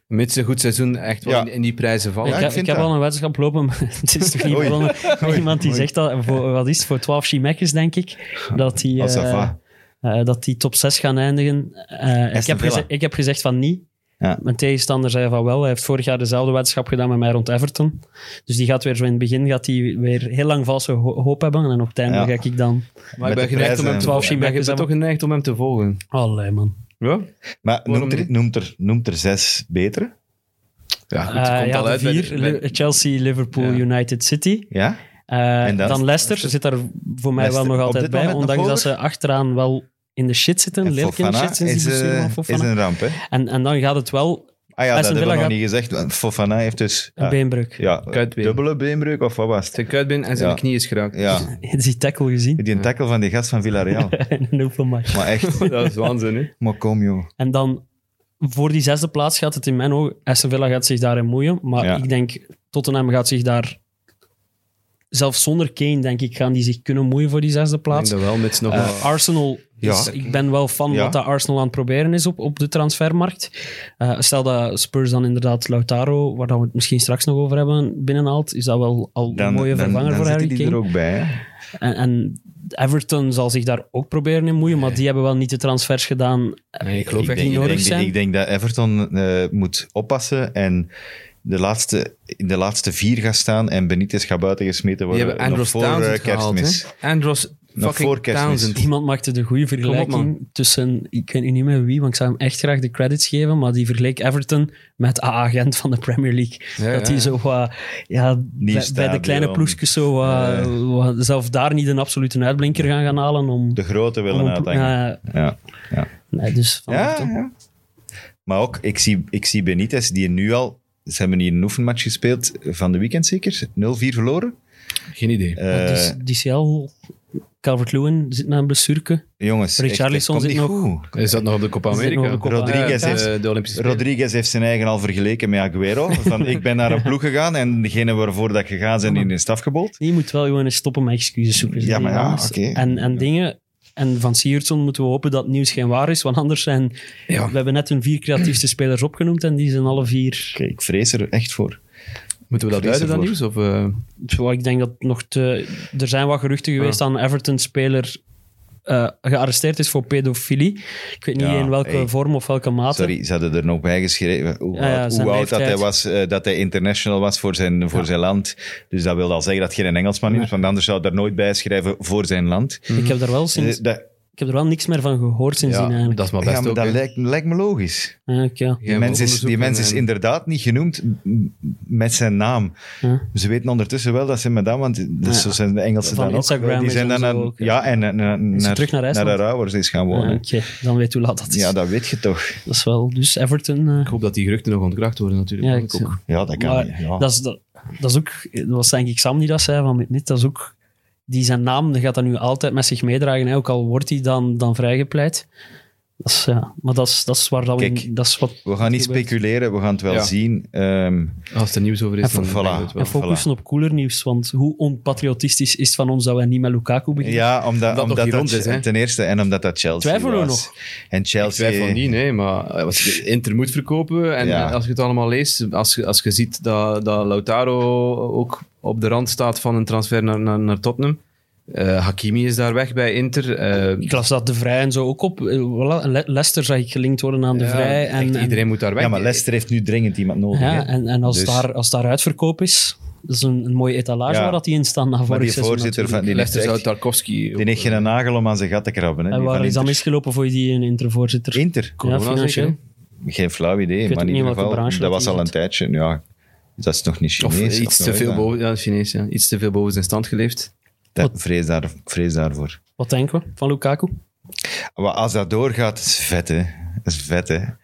Mits een goed seizoen echt wel Ja. in, in die prijzen vallen. Oh, Ja, ik, ik vind heb- ik heb dat. al een weddenschap lopen, maar het is toch niet Oei. begonnen. Oei. Iemand die Oei. zegt dat, voor, wat is het, voor 12 Chimekkes, denk ik, dat die, Ah, ça eh, va. eh, dat die top 6 gaan eindigen. Eh, ik, Aston heb Villa. geze- ik heb gezegd van niet. Ja. Mijn tegenstander zei van wel. Hij heeft vorig jaar dezelfde weddenschap gedaan met mij rond Everton. Dus die gaat weer zo in het begin gaat die weer heel lang valse ho- hoop hebben. En op het einde Ja. ga ik dan... Maar Met de ik ben, geneigd om hem prijzen te en- volgen. Ik ben, ik ben toch geneigd om hem te volgen. Allee, man. Ja? Maar Waarom noemt er, niet? noemt, er, noemt er zes betere? Ja, goed. Eh, het komt ja, al de uit bij de- vier. bij- Li- Chelsea, Liverpool, Ja. United City. Ja? Eh, En dan, dan- Leicester zit daar voor mij Leicester wel nog op altijd dit bij. moment nog Ondanks dat hoger? ze achteraan wel in de shit zitten. En Lelijk in de Fofana shit sinds is, die blessure eh, van is Fofana. een ramp, hè? En, en dan gaat het wel Ah ja, dat Aston hebben we Villa nog gaat- niet gezegd. want Fofana heeft dus... een ja. beenbreuk. Ja, Kuitbeen. dubbele beenbreuk of wat was het? Zijn kuit binnen en zijn Ja. knie is geraakt. Ja, Die tackle gezien. die tackle van die gast van Villarreal. in een open match. maar echt, Dat is waanzin, hè? maar kom joh. En dan voor die zesde plaats gaat het in mijn ogen. Aston Villa gaat zich daarin moeien. Maar Ja. ik denk Tottenham gaat zich daar. Zelfs zonder Kane, denk ik, gaan die zich kunnen moeien voor die zesde Ik denk plaats. dat wel, mits Eh, nog wel- Arsenal, is, Ja. ik ben wel fan Ja. wat dat Arsenal aan het proberen is op, op de transfermarkt. Eh, stel dat Spurs dan inderdaad Lautaro, waar dat we het misschien straks nog over hebben, binnenhaalt, is dat wel al een mooie vervanger dan voor zitten Harry die Kane. er ook bij. Hè? En, en Everton zal zich daar ook proberen in moeien, maar die hebben wel niet de transfers gedaan. Nee, ik geloof Ik echt denk- niet ik nodig. zijn. ik denk dat Everton eh, moet oppassen en de laatste, in de laatste vier gaat staan en Benitez gaat buiten gesmeten Die worden. hebben nog Andros voor Townsend eh, kerstmis. gehaald, hè? Andros Nog voor fucking kerstmis. Townsend. Iemand maakte de goede vergelijking tussen, ik weet nu niet meer wie, want ik zou hem echt graag de credits geven, maar die vergeleek Everton met AA Gent van de Premier League. Ja, dat ja, die ja. zo wat, ja, bij, bij de stadion. kleine ploegjes zo wat, wat- zelf daar niet een absolute uitblinker gaan gaan halen om... De grote willen om een ploeg- uithangen. eh, Ja. nee, dus van Ja, Everton. ja. Maar ook, ik zie, ik zie Benitez, die nu al... Ze hebben hier een oefenmatch gespeeld van de weekend zeker. 0-4 verloren. Geen idee. Eh, Dus DCL, Calvert-Lewin zit met een blessureke. jongens, echt, Richarlison het komt zit niet nog. goed. Is dat nog op de Copa Is dit nog America? op de Copa Rodriguez Eh, heeft- de, de Olympische Spelen. Rodriguez heeft zijn eigen al vergeleken met Aguero. Van, ik ben naar een ploeg gegaan en degene waarvoor dat ik gegaan zijn die in de staf gebold. Je moet wel gewoon eens stoppen met excuses zoeken. Ja, maar ja, Anders- oké. En, en dingen, En van Sigurdsson moeten we hopen dat het nieuws geen waar is, want anders zijn... Ja. We hebben net hun vier creatiefste spelers opgenoemd en die zijn alle vier... Oké, ik vrees er echt voor. Moeten we dat Ik vrees duiden, dat nieuws? ervoor. Of, eh, Pff, Ik denk dat nog te... Er zijn wat geruchten geweest dat een Everton-speler eh, gearresteerd is voor pedofilie. Ik weet niet Ja, in welke hey. vorm of welke mate. Sorry, ze hadden er nog bij geschreven hoe Ja, ja, oud, zijn hoe oud dat, hij leeftijd. was, eh, dat hij international was voor zijn, voor zijn land. Dus dat wil al zeggen dat hij geen Engelsman is, want anders zou hij er nooit bij schrijven voor zijn land. Ik heb daar wel sinds... Eh, dat, Ik heb er wel niks meer van gehoord sindsdien Ja, eigenlijk. dat is maar best ja, maar ook. dat hè. lijkt, lijkt me logisch. Ja, oké, ja. Die Jij mens moet is, die onderzoeken mens is en- inderdaad niet genoemd m- met zijn naam. Ja. Ze weten ondertussen wel dat ze met dat, want dat Ja. zo zijn de Engelsen Van dan ook. Instagram Die is zijn en dan zo aan- ook, ja. ja, en na- na- naar, terug naar IJsland? de Rauwers is gaan Ah, wonen. Oké, dan weet hoe laat dat is. Ja, dat weet je toch. Dat is wel... Dus Everton... eh, Ik hoop dat die geruchten nog ontkracht worden natuurlijk. Ja, want ik ik ook. Ja, dat kan. Maar niet, ja. dat, is, dat, dat is ook, dat was denk ik Sam die dat zei van Mitmit, dat is ook, die zijn naam die gaat dat nu altijd met zich meedragen, hè, ook al wordt hij dan, dan vrijgepleit. Dat is, ja, maar dat is, dat is waar dat we, Kijk, dat is wat We gaan niet gebeurt. speculeren, we gaan het wel Ja. zien. Ehm, Als er nieuws over is, Even- dan Voilà. denk ik het wel. en focussen op cooler nieuws, want hoe onpatriotistisch is het van ons dat wij niet met Lukaku beginnen? ja, omdat, toch omdat niet dat, rond is, hè? ten eerste en omdat dat Chelsea Twijfelen we was. nog? En Ik twijfel Chelsea, niet, nee, maar eh, als je Inter moet verkopen en Ja. eh, als je het allemaal leest, als je, als je ziet dat, dat Lautaro ook op de rand staat van een transfer naar, naar, naar Tottenham. Eh, Hakimi is daar weg bij Inter. Eh, Ik las dat De Vrij en zo ook op. eh, Voilà. Le- Leicester zag ik gelinkt worden aan De ja, Vrij. echt, En, en- iedereen moet daar weg. ja, maar Leicester heeft nu dringend iemand nodig. ja, hè. en, en als, Dus- daar, als daar uitverkoop is, dat is een, een mooie etalage Ja. waar dat die in staan. na maar vorig die seizoen voorzitter van natuurlijk. die Leicester heeft zou echt- dus Tarkovsky... die heeft geen nagel om aan zijn gat te krabben. Hè, En die waar van is dat Inter. misgelopen voor die een intervoorzitter? Inter? Ja, Corona financieel. zeker, Geen flauw idee, maar in weet ook niet ieder welke geval, branche dat dat was die al een zit. tijdje. Ja, dat is nog niet Of Chinees. iets nog te nooit, veel hè. boven... Ja, Chinees, ja. Iets te veel boven zijn stand geleefd. Dat, vrees, daar, vrees daarvoor. Wat denken we van Lukaku? Maar als dat doorgaat, is vet, hè. Dat is vet, hè. En,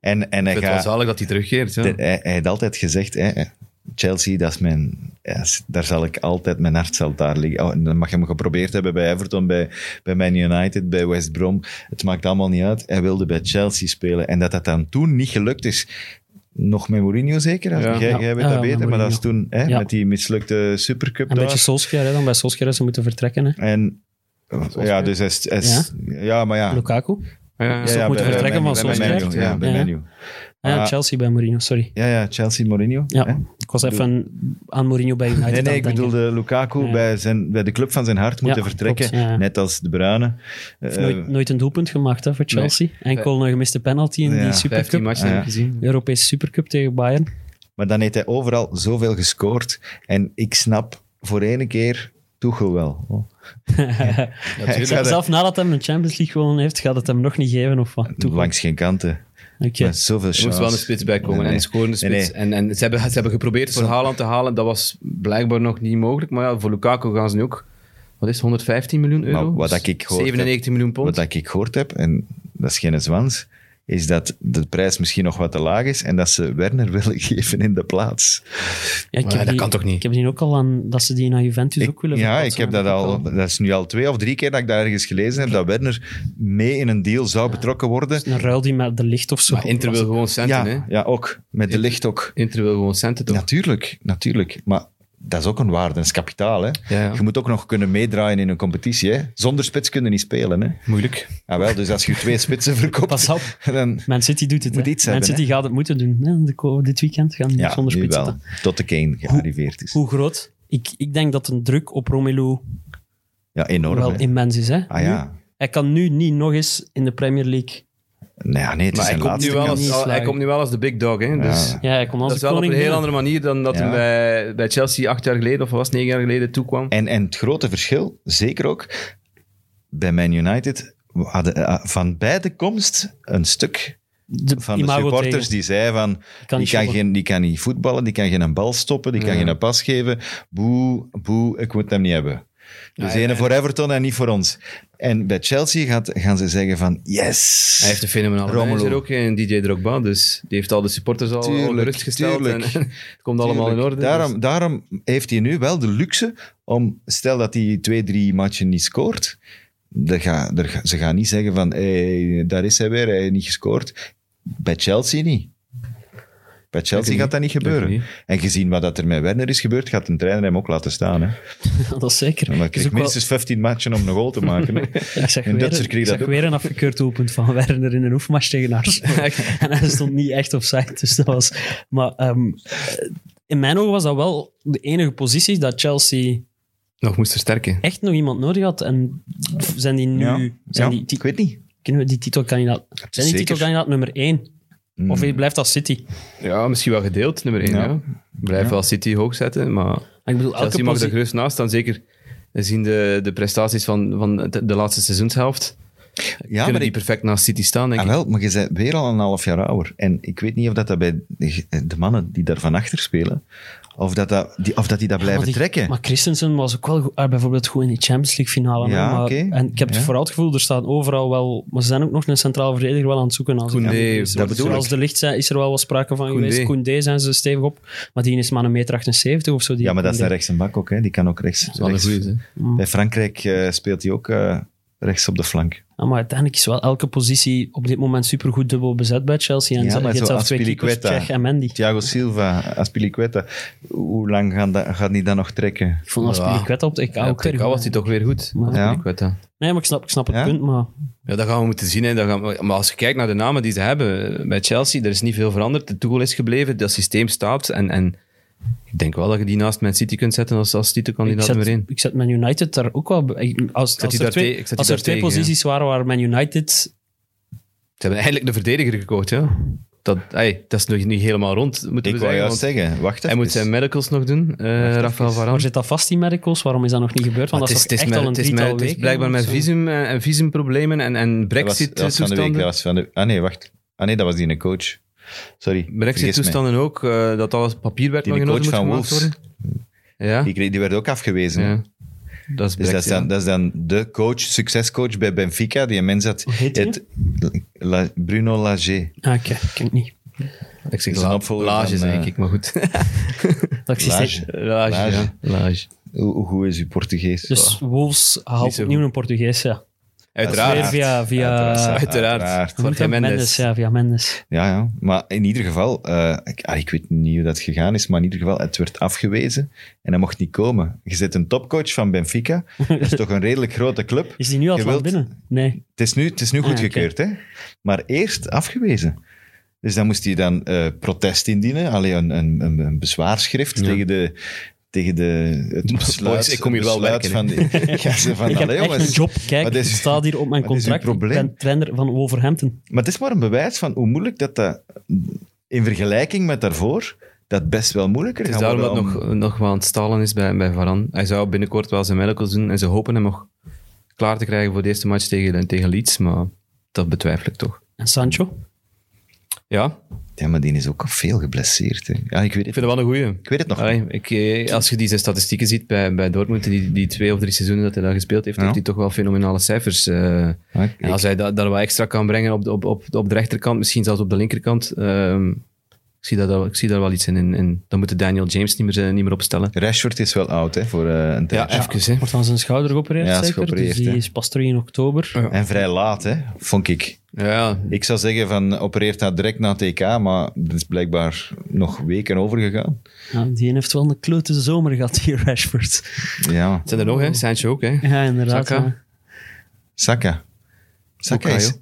en hij, Ik vind het wel gaat, zalig dat hij terugkeert. Ja. hij, hij heeft altijd gezegd, hè, Chelsea, dat is mijn... ja, daar zal ik altijd... Mijn hart zal daar liggen. Oh, en dan mag je hem geprobeerd hebben bij Everton, bij, bij Man United, bij West Brom. Het maakt allemaal niet uit. Hij wilde bij Chelsea spelen. En dat dat dan toen niet gelukt is... Nog met Mourinho zeker? Als- Ja. Jij, Ja. jij weet Ja, dat met beter, maar dat is toen hè, Ja. met die mislukte Supercup Een daar. beetje Solskjaer, hè, dan bij Solskjaer ze moeten vertrekken. Hè. En ja, dus hij is, hij is- ja? maar ja. Lukaku. Ah, Ja, Ze ja. Dus moeten bij- vertrekken bij van Man- bij Man Solskjaer. U, Ja, bij Ja. Man U. Ah, ja, Ah. Chelsea bij Mourinho, sorry. Ja, ja, Chelsea Mourinho. Ja, hè? ik was even aan Mourinho bij United Nee, aan nee, het ik denken. bedoelde Lukaku Ja. bij, zijn, bij de club van zijn hart moeten klopt, vertrekken. ja. Net als de Bruyne. Eh, Heeft nooit, nooit een doelpunt gemaakt hè, voor Chelsea. Enkel een gemiste penalty Ja. in die 15 Supercup. matchen heb Ja. ik gezien. Europese Supercup tegen Bayern. Maar dan heeft hij overal zoveel gescoord. En ik snap voor ene keer Tuchel wel. Oh. Ik ga dat- Dus Zelf nadat hij een Champions League gewonnen heeft, gaat het hem nog niet geven of wat? eh, Toe. Langs geen kanten. Oké. Met zoveel Er moest chance. wel een spits bij komen Nee, nee. en een scorende Nee, spits. nee. En, en ze, hebben, ze hebben geprobeerd voor Haaland te halen. Dat was blijkbaar nog niet mogelijk. Maar ja, voor Lukaku gaan ze nu ook... Wat is het, 115 miljoen euro? Maar wat Dus dat ik gehoord 97 miljoen pond. Wat dat ik gehoord heb, en dat is geen zwans, is dat de prijs misschien nog wat te laag is en dat ze Werner willen geven in de plaats. Ja, ik Maar heb dat die- kan toch niet? Ik heb die ook al aan dat ze die naar Juventus ook willen ja, ik verplaatsen, heb dat ook al. Dat is nu al twee of drie keer dat ik daar ergens gelezen heb dat Werner mee in een deal zou betrokken worden. Een ruil die met de licht of zo. Maar Inter wil gewoon centen, hè? Ja, ja, ook. Met de licht ook. Inter wil gewoon centen, toch? Natuurlijk, natuurlijk. Maar dat is ook een waarde, dat is kapitaal. Hè? Ja, ja. Je moet ook nog kunnen meedraaien in een competitie. Hè? Zonder spits kunnen niet spelen. Hè? Moeilijk. Ah, wel, dus als je twee spitsen verkoopt, Pas op. dan... Man City doet het. Moet hè. iets Man hebben, City gaat het moeten doen. hè. De ko- dit weekend gaan die Ja, zonder nu spits wel. zitten. Tot de Kane gearriveerd is. Hoe groot? Ik, ik denk dat een druk op Romelu Ja, enorm. wel hè. immens is. Hè? Ah ja. Nu, hij kan nu niet nog eens in de Premier League. Nee, ja, nee het Maar is zijn hij komt, laatste nu wel kans. als, kans. hij komt nu wel als de big dog, hè? Dus Ja. Ja, hij komt als dat is de wel op een koning heel binnen. andere manier dan dat Ja. hij bij, bij Chelsea acht jaar geleden, of was het, negen jaar geleden, toekwam. En, en het grote verschil, zeker ook, bij Man United we hadden eh, van bij de komst een stuk De van de imago supporters tegen. die zei van Kan die niet kan, shoppen. geen, die kan niet voetballen, die kan geen bal stoppen, die kan geen pas geven. Boe, boe, ik moet hem niet hebben. Dus ene voor Everton en niet voor ons. En bij Chelsea gaat, gaan ze zeggen van yes. Hij heeft een fenomenale Romelu. manager ook, en DJ Drogba. Dus die heeft al de supporters al, al Tuurlijk, gerustgesteld. En, tuurlijk. het komt allemaal in Tuurlijk. orde. dus Daarom, daarom heeft hij nu wel de luxe om, stel dat hij twee, drie matchen niet scoort, er ga, er, ga- ze gaan niet zeggen van, hey, daar is hij weer, hij heeft niet gescoord. Bij Chelsea niet. Bij Chelsea niet. gaat dat niet Zeker gebeuren. niet. En gezien wat dat er met Werner is gebeurd, gaat een trainer hem ook laten staan. Hè? dat is zeker. Dan krijg Is ook ik wel- minstens 15 matchen om een goal te maken. hè. Ja, ik zag In weer, dat circuit ik dat zag ook. weer een afgekeurd doelpunt van Werner in een oefenmatch tegen Arsenal. en hij stond niet echt opzij. Dus dat was... Maar ehm, in mijn ogen was dat wel de enige positie dat Chelsea Nog moest versterken. echt nog iemand nodig had. En zijn die nu... Ja. Zijn Ja, die, ik weet niet. kunnen we die titelkandidaat... Zijn die Zeker. Hmm. titelkandidaat nummer één? Of blijft dat City? Ja, misschien wel gedeeld, nummer 1. Ja. Ja. Blijf wel City hoog zetten, maar Maar ik bedoel, elke Chelsea mag er positie... gerust naast staan. Zeker zien de, de prestaties van, van de, de laatste seizoenshelft. Ja, kunnen maar die ik, perfect naast City staan, denk ah, ik. wel, maar je bent weer al een half jaar ouder. En ik weet niet of dat, dat bij de mannen die daar van achter spelen, of dat, dat, die, of dat die dat blijven Maar die- trekken. Maar Christensen was ook wel goed, ah, bijvoorbeeld goed in die Champions League finale. hè, Ja, maar- oké. En ik heb Ja. het vooral het gevoel, er staan overal wel... Maar ze zijn ook nog een centraal verdediger wel aan het zoeken. Als ik Koundé, me niet dat vergis. Want bedoel ik. Zoals de licht zijn, is er wel wat sprake van Koundé. geweest. Koundé zijn ze stevig op. Maar die is maar een meter 78 of zo. Die Ja, maar dat is Koundé. naar rechts en bak ook. Hè. Die kan ook rechts. Dat is rechts- wel een goeie, hè. Bij Frankrijk eh, speelt hij ook eh, rechts op de flank. Ja, maar uiteindelijk is wel elke positie op dit moment supergoed dubbel bezet bij Chelsea. En Ja, ze- maar je hebt zo zelfs twee keepers, Azpilicueta. Cech en Mendy. Thiago Silva, Aspilicueta. Hoe lang gaan dat, gaat die dat nog trekken? Ik vond als Ja. Aspilicueta op de EK Ja, ook kijk, erg al goed. was hij toch weer goed. Maar- Ja. Ik weet dat. Nee, maar ik snap, ik snap het Ja? punt, maar... Ja, dat gaan we moeten zien. Hè. Dat gaan we- maar als je kijkt naar de namen die ze hebben eh, bij Chelsea, er is niet veel veranderd. De toegal is gebleven, dat systeem staat. En, en ik denk wel dat je die naast Man City kunt zetten als, als Ik titelkandidaat zet, nummer 1. ik zet Man United daar ook wel... bij. Ik- Als, als die er daar twee, tegen- ik zet die als er daar twee tegen, ja. posities waren waar Man United... Ze hebben eindelijk de verdediger gekocht. Ja. Dat, ey, dat is nog niet helemaal rond, moeten Ik we wou zeggen. juist want zeggen, wacht hij even. moet zijn medicals nog doen, eh Rafael Waar Varane. zit dat vast, die medicals? Waarom is dat nog niet gebeurd? Want Maar dat is, het is, het toch is, echt met- al een het is, met- drietal het is weken, blijkbaar met of zo. visum eh, en, en visumproblemen en, en Dat was- dat was van de week, dat brexit-toestanden. was van de- Ah nee, wacht. Ah nee, dat was die een coach. Sorry. vergis mij. Brexit-toestanden ook, eh, dat alles papier werd Die nog in coach orde moet van gemaakt Wolves. worden. Ja, Die, kreeg- die werd ook afgewezen. ja. dat is Dus brexit. dat is, dan, ja. dat is dan de coach, succescoach bij Benfica. Die mens had heet die? het, La- Bruno Lager. Ah, oké. Ken ik niet. Ik zeg Is een la- opvolger lage, van, denk eh, ik, maar goed. Dat ik zie- Lager. lage, Lage. ja. Lage. Hoe, hoe goed is uw Portugees? Dus Wolves haalt zo opnieuw goed. een Portugees, ja. Uiteraard. Weer via- via- Uiteraard. Uiteraard. Uiteraard. Jorge Moet dat? Mendes. ja, via Mendes. Ja, ja, maar in ieder geval, eh, ik, ah, ik weet niet hoe dat gegaan is, maar in ieder geval, het werd afgewezen en hij mocht niet komen. Je zit een topcoach van Benfica, dat is toch een redelijk grote club. Is die nu al Je het land wilt- binnen? Nee. Het is nu, het is nu Ah, ja, goedgekeurd, hè? maar eerst afgewezen. Dus dan moest hij dan eh, protest indienen, alleen een, een, een, een bezwaarschrift tegen de. Tegen de, het besluit, Boys, ik kom hier wel besluit werken, Van de, ja, ze van, Ik heb allee, echt jongens. een job. Kijk, wat het is- staat hier op mijn wat is uw contract. Ik probleem? ben trainer van Wolverhampton. Maar het is maar een bewijs van hoe moeilijk dat dat in vergelijking met daarvoor dat best wel moeilijker Het is gaat daarom dat worden om- nog, nog wel aan het stalen is bij, bij Varane. Hij zou binnenkort wel zijn medicals doen en ze hopen hem nog klaar te krijgen voor de eerste match tegen, eh, tegen Leeds, maar dat betwijfel ik toch. En Sancho? Ja, Ja, maar die is ook veel geblesseerd. Hè. Ja, ik weet ik het, vind het wel een goeie. ik weet het nog niet. Allee, ik, eh, als je die zijn statistieken ziet bij, bij Dortmund, die, die twee of drie seizoenen dat hij daar gespeeld heeft, Ja. heeft hij toch wel fenomenale cijfers. eh, Maar ik- En als hij dat, daar wat extra kan brengen op de, op, op, op de rechterkant, misschien zelfs op de linkerkant, ehm, ik, zie dat, ik zie daar wel iets in. in, in. Dan moet de Daniel James niet meer, eh, niet meer opstellen. Rashford is wel oud hè, voor eh, een Ja, tijdje. even. Hè. Wordt aan zijn schouder geopereerd, Ja, is zeker? geopereerd, dus die hè. is pas terug in oktober. Ja. En vrij laat, hè, vond ik. Ja, Ik zou zeggen van opereert dat direct na het TK, maar dat is blijkbaar nog weken overgegaan. Ja, die heeft wel een klote zomer gehad hier, Rashford. Ja, het zijn er nog, hè? Sancho ook, hè? Dus Ja, inderdaad. Saka. ja. Saka. Saka Bukayo. is...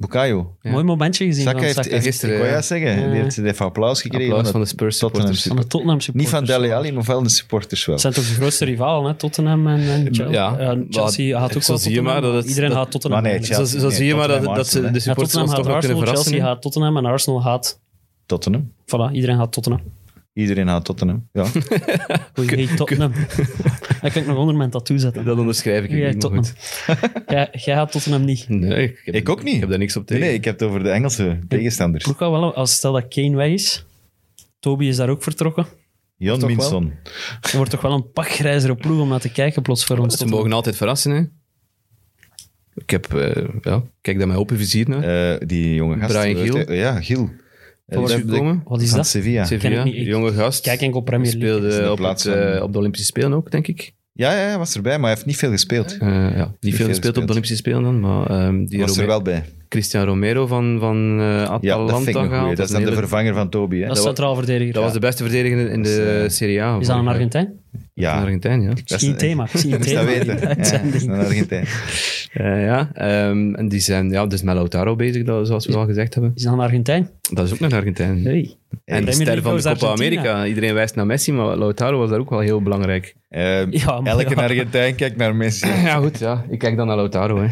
Bukayo. Ja. Mooi momentje gezien Saka van heeft, Saka. heeft Gisteren, eh, ik wou ja. juist zeggen, Ja. die heeft, die heeft applaus gekregen Applaus van het de Spurs Tottenham supporters. van de Tottenham Niet supporters. van Dele Alli, maar van de supporters wel. Het zijn toch de grootste rivalen, hè? Tottenham en, en Chelsea. Ja, Ja, maar Chelsea haat ik ook zo wel zie je Tottenham, maar dat het- iedereen dat- haat Tottenham. Maar nee, eigenlijk. Chelsea- Zo, zo Nee, zie je maar dat, Tottenham, dat ze Arsenal, hè. de Ja, supporters Tottenham ons haat toch wel kunnen Arsenal, verrassen. Chelsea hè. haat Tottenham en Arsenal haat... Tottenham. Voilà, iedereen haat Tottenham. Iedereen haat Tottenham. Ja. Oei, hey, Tottenham. Dat kan ik nog onder mijn tattoo zetten. Dat onderschrijf ik niet, Jij maar Tottenham. goed. Jij, jij haat Tottenham niet. Nee, ik, heb, Ik ook niet. Ik heb daar niks op Nee, tegen. nee, ik heb het over de Engelse tegenstanders. Ploeg gaat wel, als stel dat Kane weg is... Toby is daar ook vertrokken. Jan Toch wel? Minson. Er wordt toch wel een pakgrijzere ploeg om naar te kijken plots voor ons. Ze Tottenham. mogen altijd verrassen, hè? Ik heb, eh, ja, kijk daar mijn open vizier naar. Eh, die jonge gast. Brian Giel. Eh, Ja, Giel. Van waar is Eh, hij gekomen? Wat is van dat? Sevilla. ken Sevilla, ik niet. Ik jonge gast. Kijk enkel Premier League. Is in de speelde op, plaats het, eh, van- op de Olympische Spelen ook, denk ik. Ja, ja, hij was erbij, maar hij heeft niet veel gespeeld. Eh, ja, niet veel gespeeld op gespeeld. de Olympische Spelen dan, maar ehm, die was er Rome- wel bij. Christian Romero van, van eh, Ja, Atalanta dat vind ik een gehaald. goeie. Dat is een dan de hele- vervanger van Toby. Hè? Dat is centraal verdediger. dat was de beste verdediger in de Serie A. Is dat een vorig jaar. Argentijn? Een eh, ja, Argentijn, ja. Dat Dat is is een- een thema. Ik zie een dat is thema. dat in weten. de Ja, dat uitzending. is een Argentijn. Eh, ja, ehm, en die zijn ja, dus met Lautaro bezig, dat- zoals we al gezegd hebben. Is dat een Argentijn? Dat is ook nog een Argentijn. Nee. En de Eh, Premier ster League van de was Copa Argentina. America. Iedereen wijst naar Messi, maar Lautaro was daar ook wel heel belangrijk. Eh, Ja, maar elke ja. Argentijn kijkt naar Messi. Ja, goed, ja. Ik kijk dan naar Lautaro. Hè.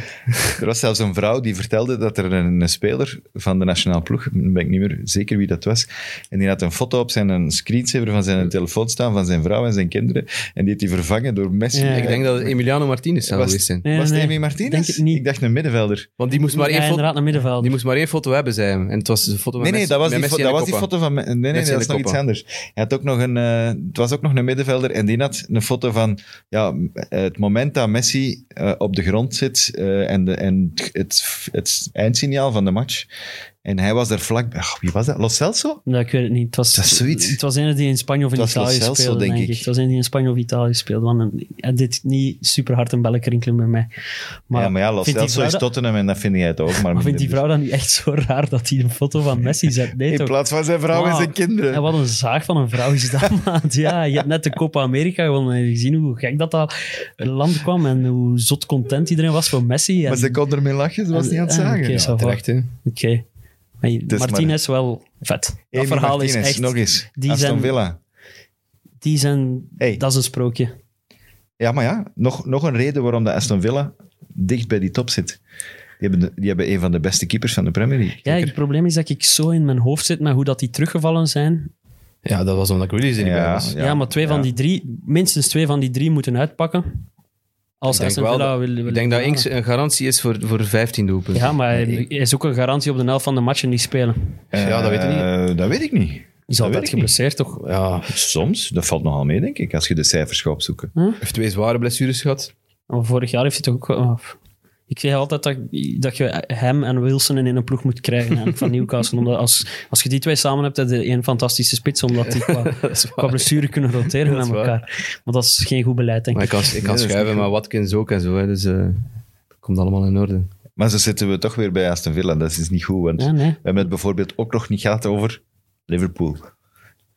Er was zelfs een vrouw die vertelde dat er een, een speler van de nationale ploeg, nu ben ik niet meer zeker wie dat was, en die had een foto op zijn een screensaver van zijn telefoon staan van zijn vrouw en zijn kinderen, en die had die vervangen door Messi. Eh, Ja. Ik denk dat het Emiliano Martinez zou was, geweest zijn. Nee, was het nee. Amy Martinez? Denk het niet. Ik dacht een middenvelder. Want die moest, maar ja, één foto, inderdaad, naar middenveld. die moest maar één foto hebben, zei hij. En het was een foto met Nee, nee, Messi- dat was, met die, Messi fo- dat en de was die Copa. foto van... Me- Nee, nee, Messi en dat de is nog Copa. iets anders. Hij had ook nog een, eh, het was ook nog een middenvelder en die had een foto van ja, m- eh, het moment dat Messi eh, op de grond zit eh, en, de, en het, het, het eindsignaal van de match. En hij was er vlak bij. Ach, wie was dat? Lo Celso? Nee, ik weet het niet. Het was, Dat is zoiets. Het was een die in Spanje of in Het was Lo Italië Celso, speelde, denk denk ik. ik. Het was een die in Spanje of Italië speelde. Want een- hij deed niet super hard een belletje rinkelen bij mij. Maar, ja, maar ja, Lo vindt die Celso is vrouw dat- Tottenham en dat vind jij het ook. Maar maar vindt minder. die dus. vrouw dan niet echt zo raar dat hij een foto van Messi zet? Nee, In toch? plaats van zijn vrouw en Wow. zijn kinderen. En wat een zaag van een vrouw is dat, maat. Ja, je hebt net de Copa America gewonnen en je hebt gezien hoe gek dat dat land kwam en hoe zot content iedereen was voor Messi. En, Maar ze kon ermee lachen, ze was en- niet aan het en- zagen. eh, Oké, Ja. ça va. Terecht, hè. Oké. Maar maar- Martinez wel vet. Dat Amy verhaal is Martinez, echt... nog eens. die Aston zijn- Villa. Die zijn... Hey. Dat is een sprookje. Ja, maar ja, nog, nog een reden waarom de Aston Villa dicht bij die top zit. Die hebben, de- die hebben een van de beste keepers van de Premier League. Ja, het probleem is dat ik zo in mijn hoofd zit met hoe dat die teruggevallen zijn. Ja, dat was omdat Grealish er niet bij was. Ja, maar twee ja. van die drie... Minstens twee van die drie moeten uitpakken. Als Ik denk, Aston wel, Villa dat- wil, wil ik denk dat halen. Inks een garantie is voor, voor 15 doelpunten. Ja, maar Nee, hij is ook een garantie op de helft van de matchen die spelen. Eh, Ja, dat weet ik niet. eh, dat weet ik niet. Die is Dat altijd weet ik niet. geblesseerd, toch? ja, Soms, dat valt nogal mee, denk ik, als je de cijfers gaat opzoeken. heeft twee zware blessures gehad. Maar vorig jaar heeft hij toch ook... wel- oh, Ik zeg altijd dat, dat je hem en Wilson in een ploeg moet krijgen hè, van Newcastle. Omdat als, als je die twee samen hebt, heb je één fantastische spits. Omdat die qua, Dat is qua waar. blessure kunnen roteren Dat met is waar. elkaar. Maar dat is geen goed beleid, denk Maar ik. ik kan, ik kan is niet schuiven, maar Watkins ook en zo. Hè, dus eh het komt allemaal in orde. Maar zo zitten we toch weer bij Aston Villa. Dat is niet goed, want Ja, nee. we hebben het bijvoorbeeld ook nog niet gehad over Liverpool.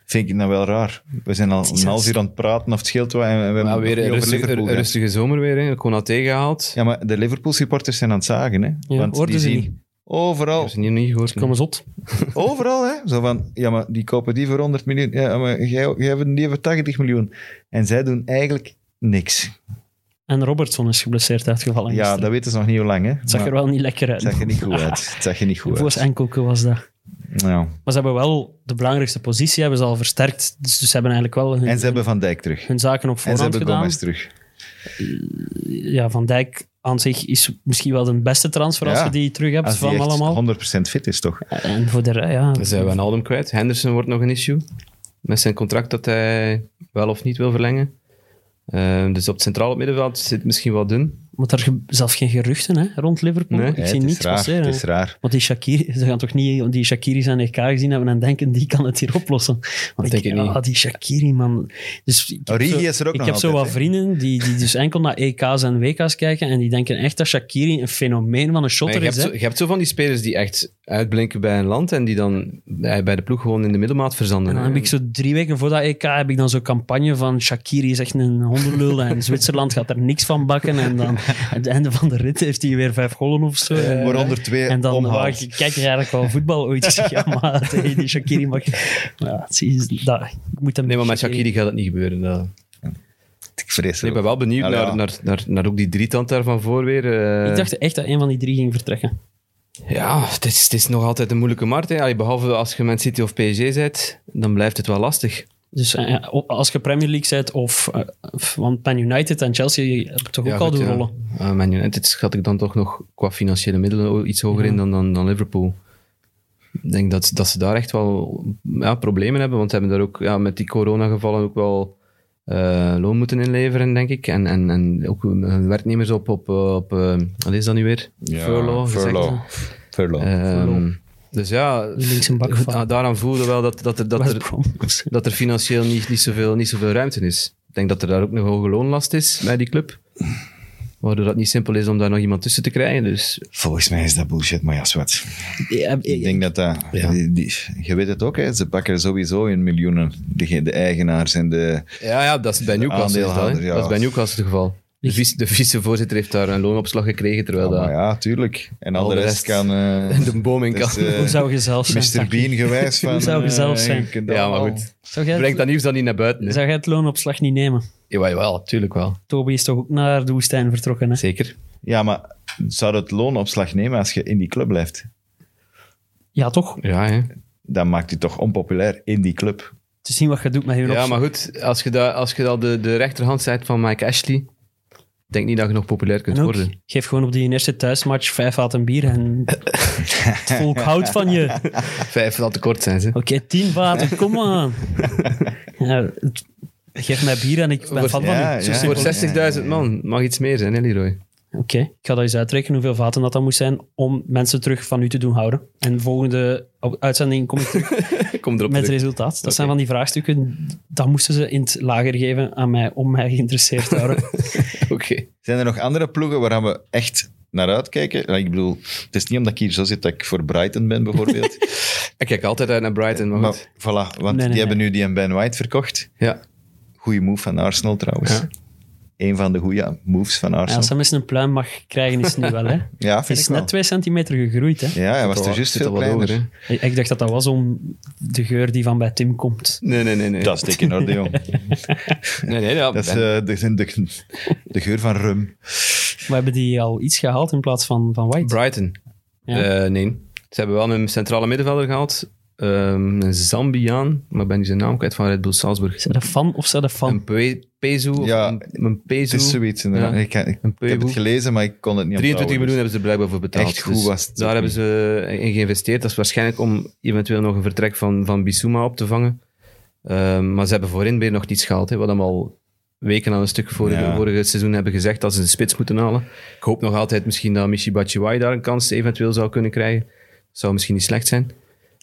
Vind ik nou wel raar. We zijn al een half uur aan het praten of het scheelt wat en we hebben Maar het weer nog een niet over rustige, Liverpool een gehad. rustige zomer weer. Hè. Konaté gehaald. Ja, maar de Liverpool-supporters zijn aan het zagen, hè. Want hoorden die ze zien niet. Ik overal heb ze niet, niet gehoord. Kom eens op. Overal, hè? Zo van, ja, maar die kopen die voor 100 miljoen. Ja, maar jij, jij hebt die voor 80 miljoen. En zij doen eigenlijk niks. En Robertson is geblesseerd uitgevallen. Ja, gisteren. dat weten ze nog niet hoe lang, hè? Het zag er wel niet lekker uit. Het zag er niet goed uit. Het zag er niet goed Voor uit. enkelke was dat. Nou, Maar ze hebben wel de belangrijkste positie hebben ze al versterkt. Dus, dus ze hebben eigenlijk wel hun, En ze hebben Van Dijk terug. hun zaken op En voorhand ze hebben gedaan. Gomez terug. ja, Van Dijk aan zich is misschien wel de beste transfer als Ja. je die terug hebt Als van die echt allemaal. 100% fit is, toch? En voor de rij, ja. Dan zijn we Wijnaldum kwijt. Henderson wordt nog een issue. Met zijn contract dat hij wel of niet wil verlengen. Ehm, dus op het centrale middenveld zit het misschien wel dun. Maar daar ge- zelfs geen geruchten hè, rond Liverpool. Nee. ik Ja, zie het, is niets raar, passeren. het is raar. Want die Shakiri, ze gaan toch niet die Shakiris aan EK gezien hebben en denken, die kan het hier oplossen. Want denk ik niet. ah, die Shakiri, man. Dus ik heb Origi zo- is er ook Ik nog heb zo altijd, wat hè? vrienden die, die dus enkel naar EK's en WK's kijken en die denken echt dat Shakiri een fenomeen van een Maar shotter je, hebt is. hè. zo, je hebt zo van die spelers die echt uitblinken bij een land en die dan eh, bij bij de ploeg gewoon in de middelmaat verzanden. En dan heb ik zo drie weken voor dat EK heb ik dan zo'n campagne van Shakiri is echt een hondenlul en Zwitserland gaat er niks van bakken. En dan aan het einde van de rit heeft hij weer vijf gollen of zo. Eh, Waaronder twee en dan omhaalt. wou ik- kijk je eigenlijk wel voetbal ooit. Ik zeg, ja, maar tegen die Shakiri mag... Ja, zie je, dat, ik moet hem Nee, maar met Shakiri gaat dat niet gebeuren. Dat... Ik vrees Ik ben het. wel benieuwd Ja, ja. Naar, naar, naar, naar ook die drietand daarvan voor weer. eh. Ik dacht echt dat een van die drie ging vertrekken. Ja, het is, het is nog altijd een moeilijke markt. Hè. Allee, behalve als je Man City of PSG bent, dan blijft het wel lastig. Dus eh, ja, op- als je Premier League zet, of, eh, of- want Man United en Chelsea hebben toch ook Ja, al goed, de ja. rollen. Ah, Man United schat ik dan toch nog qua financiële middelen o- iets hoger in dan, dan, dan Liverpool. Ik denk dat, dat ze daar echt wel ja, problemen hebben, want ze hebben daar ook ja, met die coronagevallen ook wel eh, loon moeten inleveren, denk ik. En, en, en ook hun werknemers op, op, eh, op eh, wat is dat nu weer? Furlough, gezegd. Furlough. Furlough. Eh. Ehm, Furlough. dus ja, Links een bak van. ah, daaraan voelde wel dat, dat, er, dat, West er, Brom. dat er financieel niet, niet, zoveel, niet zoveel ruimte is. Ik denk dat er daar ook nog hoge loonlast is bij die club. Waardoor dat niet simpel is om daar nog iemand tussen te krijgen. Dus Volgens mij is dat bullshit, maar ja, zwart. Ja, Ik denk dat dat... die- die- je weet het ook, hè, ze pakken sowieso in miljoenen. De, de eigenaars en de... ja, ja, dat is bij Newcastle. Is dat, aandeelhouder, hè. ja. dat is bij Newcastle het geval. De, vice, de vicevoorzitter heeft daar een loonopslag gekregen, terwijl Ah, dat maar ja, tuurlijk. En al, Al de de rest, rest. kan... eh, de boom in dat kan. is, eh, Hoe zou je zelf zijn? Mr. Bean gewijs van... Hoe zou je eh, zelf zijn? je kunt Ja, maar allemaal- goed. Zou jij, Breng het, dat nieuws dan niet naar buiten. hè. zou jij het loonopslag niet nemen? Jawel, jawel, tuurlijk wel. Toby is toch ook naar de woestijn vertrokken, hè? Zeker. Ja, maar zou het loonopslag nemen als je in die club blijft? Ja, toch? Ja, hè. Dan maakt je toch onpopulair in die club. Te zien wat je doet met je ja opslag. maar goed, als je dat, als je dat de, de rechterhand zijt van Mike Ashley, denk niet dat je nog populair kunt En ook, worden. geef gewoon op die eerste thuismatch vijf vaten bier en het volk houdt van je. Oké, Vijf zal te kort zijn, ze. tien vaten, kom aan. Ja, het- geef mij bier en ik ben Voor- fan van ja, u. Zo ja. simpel. Voor Oké, 60.000 man mag iets meer zijn, hè, Leroy? ik ga dat eens uitrekenen hoeveel vaten dat dan moest zijn om mensen terug van u te doen houden. En volgende u- uitzending kom ik terug Kom erop met het terug. resultaat. Dat zijn van die vraagstukken, dat moesten ze in het lager geven aan mij, om mij geïnteresseerd te houden. Oké. Zijn er nog andere ploegen waar we echt naar uitkijken? Nou, Ik bedoel, het is niet omdat ik hier zo zit dat ik voor Brighton ben, bijvoorbeeld. Ik kijk altijd uit naar Brighton, maar goed. maar, voilà, want die nee, nee. hebben nu die en Ben White verkocht. Ja. Goeie move van Arsenal trouwens. Ja. Een van de goede moves van Ja, als Arsenal. hem eens een pluim mag krijgen, is het nu wel, hè. Ja, Hij vind is ik wel. net twee centimeter gegroeid, hè. Ja, hij was Zit al- er juist zit al veel wat kleiner. hoger, Ik, ik dacht dat dat was om de geur die van bij Tim komt. hè. Nee, nee, nee. nee. dat is dik in orde, jong. nee, nee, ja, Dat is Ben- eh, de, de, de geur van rum. We hebben die al iets gehaald in plaats van, van White. Brighton. Ja. Eh, nee. Ze hebben wel een centrale middenvelder gehaald. Ehm, een Zambiaan, maar ik ben nu zijn naam kwijt van Red Bull Salzburg. Zijn dat fan of zijn dat fan? Een Pe- Pezu. of Ja, een, een Het Pezu. is zoiets. inderdaad. Ja. Ik, ik- ik Een heb het peuboe. gelezen, maar ik kon het niet 23 miljoen onthouden, dus- hebben ze er blijkbaar voor betaald. dus Echt goed was het Daar ook hebben ze in geïnvesteerd. Dat is waarschijnlijk om eventueel nog een vertrek van, van Bissouma op te vangen. Ehm, maar ze hebben voorin weer nog niets gehaald. Hè. Wat hem al weken aan een stuk vorige, Ja. vorige seizoen hebben gezegd dat ze een spits moeten halen. Ik hoop nog altijd misschien dat Michi Batshuayi daar een kans eventueel zou kunnen krijgen. Zou misschien niet slecht zijn.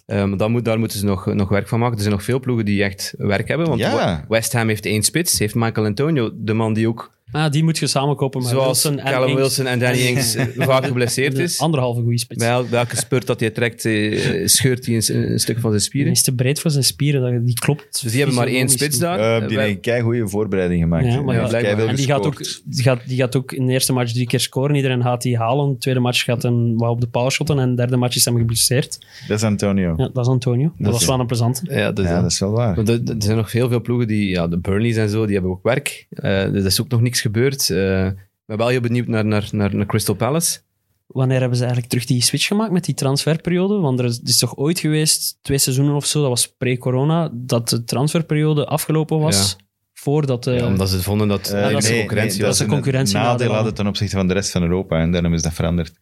Ehm, dan moet, daar moeten ze nog, nog werk van maken. Er zijn nog veel ploegen die echt werk hebben. Want Ja. Wa- West Ham heeft één spits. Heeft Michael Antonio, de man die ook Ah, die moet je samen kopen met Zoals Wilson en Callum Ings. Wilson en Danny Ings eh, vaak geblesseerd De is. Anderhalve goede spits. Bij el- welke spurt dat hij trekt, eh, scheurt hij een, s- een stuk van zijn Die spieren. is te breed voor zijn spieren, dat- die klopt. Dus die hebben maar één fysiologisch spits daar. niet. Eh, Eh, die wij- heeft een keigoede voorbereiding gemaakt. Ja, maar ja, Hij heeft blijkbaar. keiveel En die gaat, ook, gescoord. die, gaat, die gaat ook in de eerste match drie keer scoren. Iedereen gaat die halen. De tweede match gaat hem wat op de paal shotten. En de derde match is hem geblesseerd. Dat is Antonio. Ja, Ja, dat is Antonio. Dat, was wel een plezante. ja, dus dat. dat is wel waar. Want er, er zijn nog heel veel ploegen die, ja, de Burnleys en zo, die hebben ook werk. Eh, dus er is ook nog niks gebeurd. Eh, ik ben wel heel benieuwd naar, naar, naar, naar Crystal Palace. Wanneer hebben ze eigenlijk terug die switch gemaakt met die transferperiode? Want er is, het is toch ooit geweest, twee seizoenen of zo, dat was pre-corona, dat de transferperiode afgelopen was voordat eh, de... Ja, omdat ze vonden dat Eh, er dat is geen een concurrentie dat was. is een concurrentienadeel, nadeel ja. hadden ten opzichte van de rest van Europa en daarom is dat veranderd.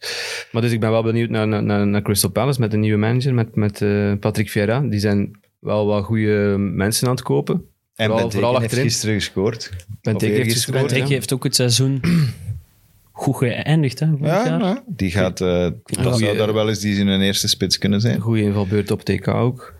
Maar dus ik ben wel benieuwd naar, naar- naar, naar Crystal Palace met een nieuwe manager, met, met eh, Patrick Vieira. Die zijn wel wat goede mensen aan het kopen. En Vooral- Benteke vooral heeft achterin. gisteren gescoord. Benteke Of heeft eergisteren. gescoord, Benteke ja. heeft ook het seizoen goed geëindigd, hè, vorig Ja, jaar. ja, die gaat... eh, dat goeie- zou daar wel eens die in hun eerste spits kunnen zijn. Een goede invalbeurt op TK ook.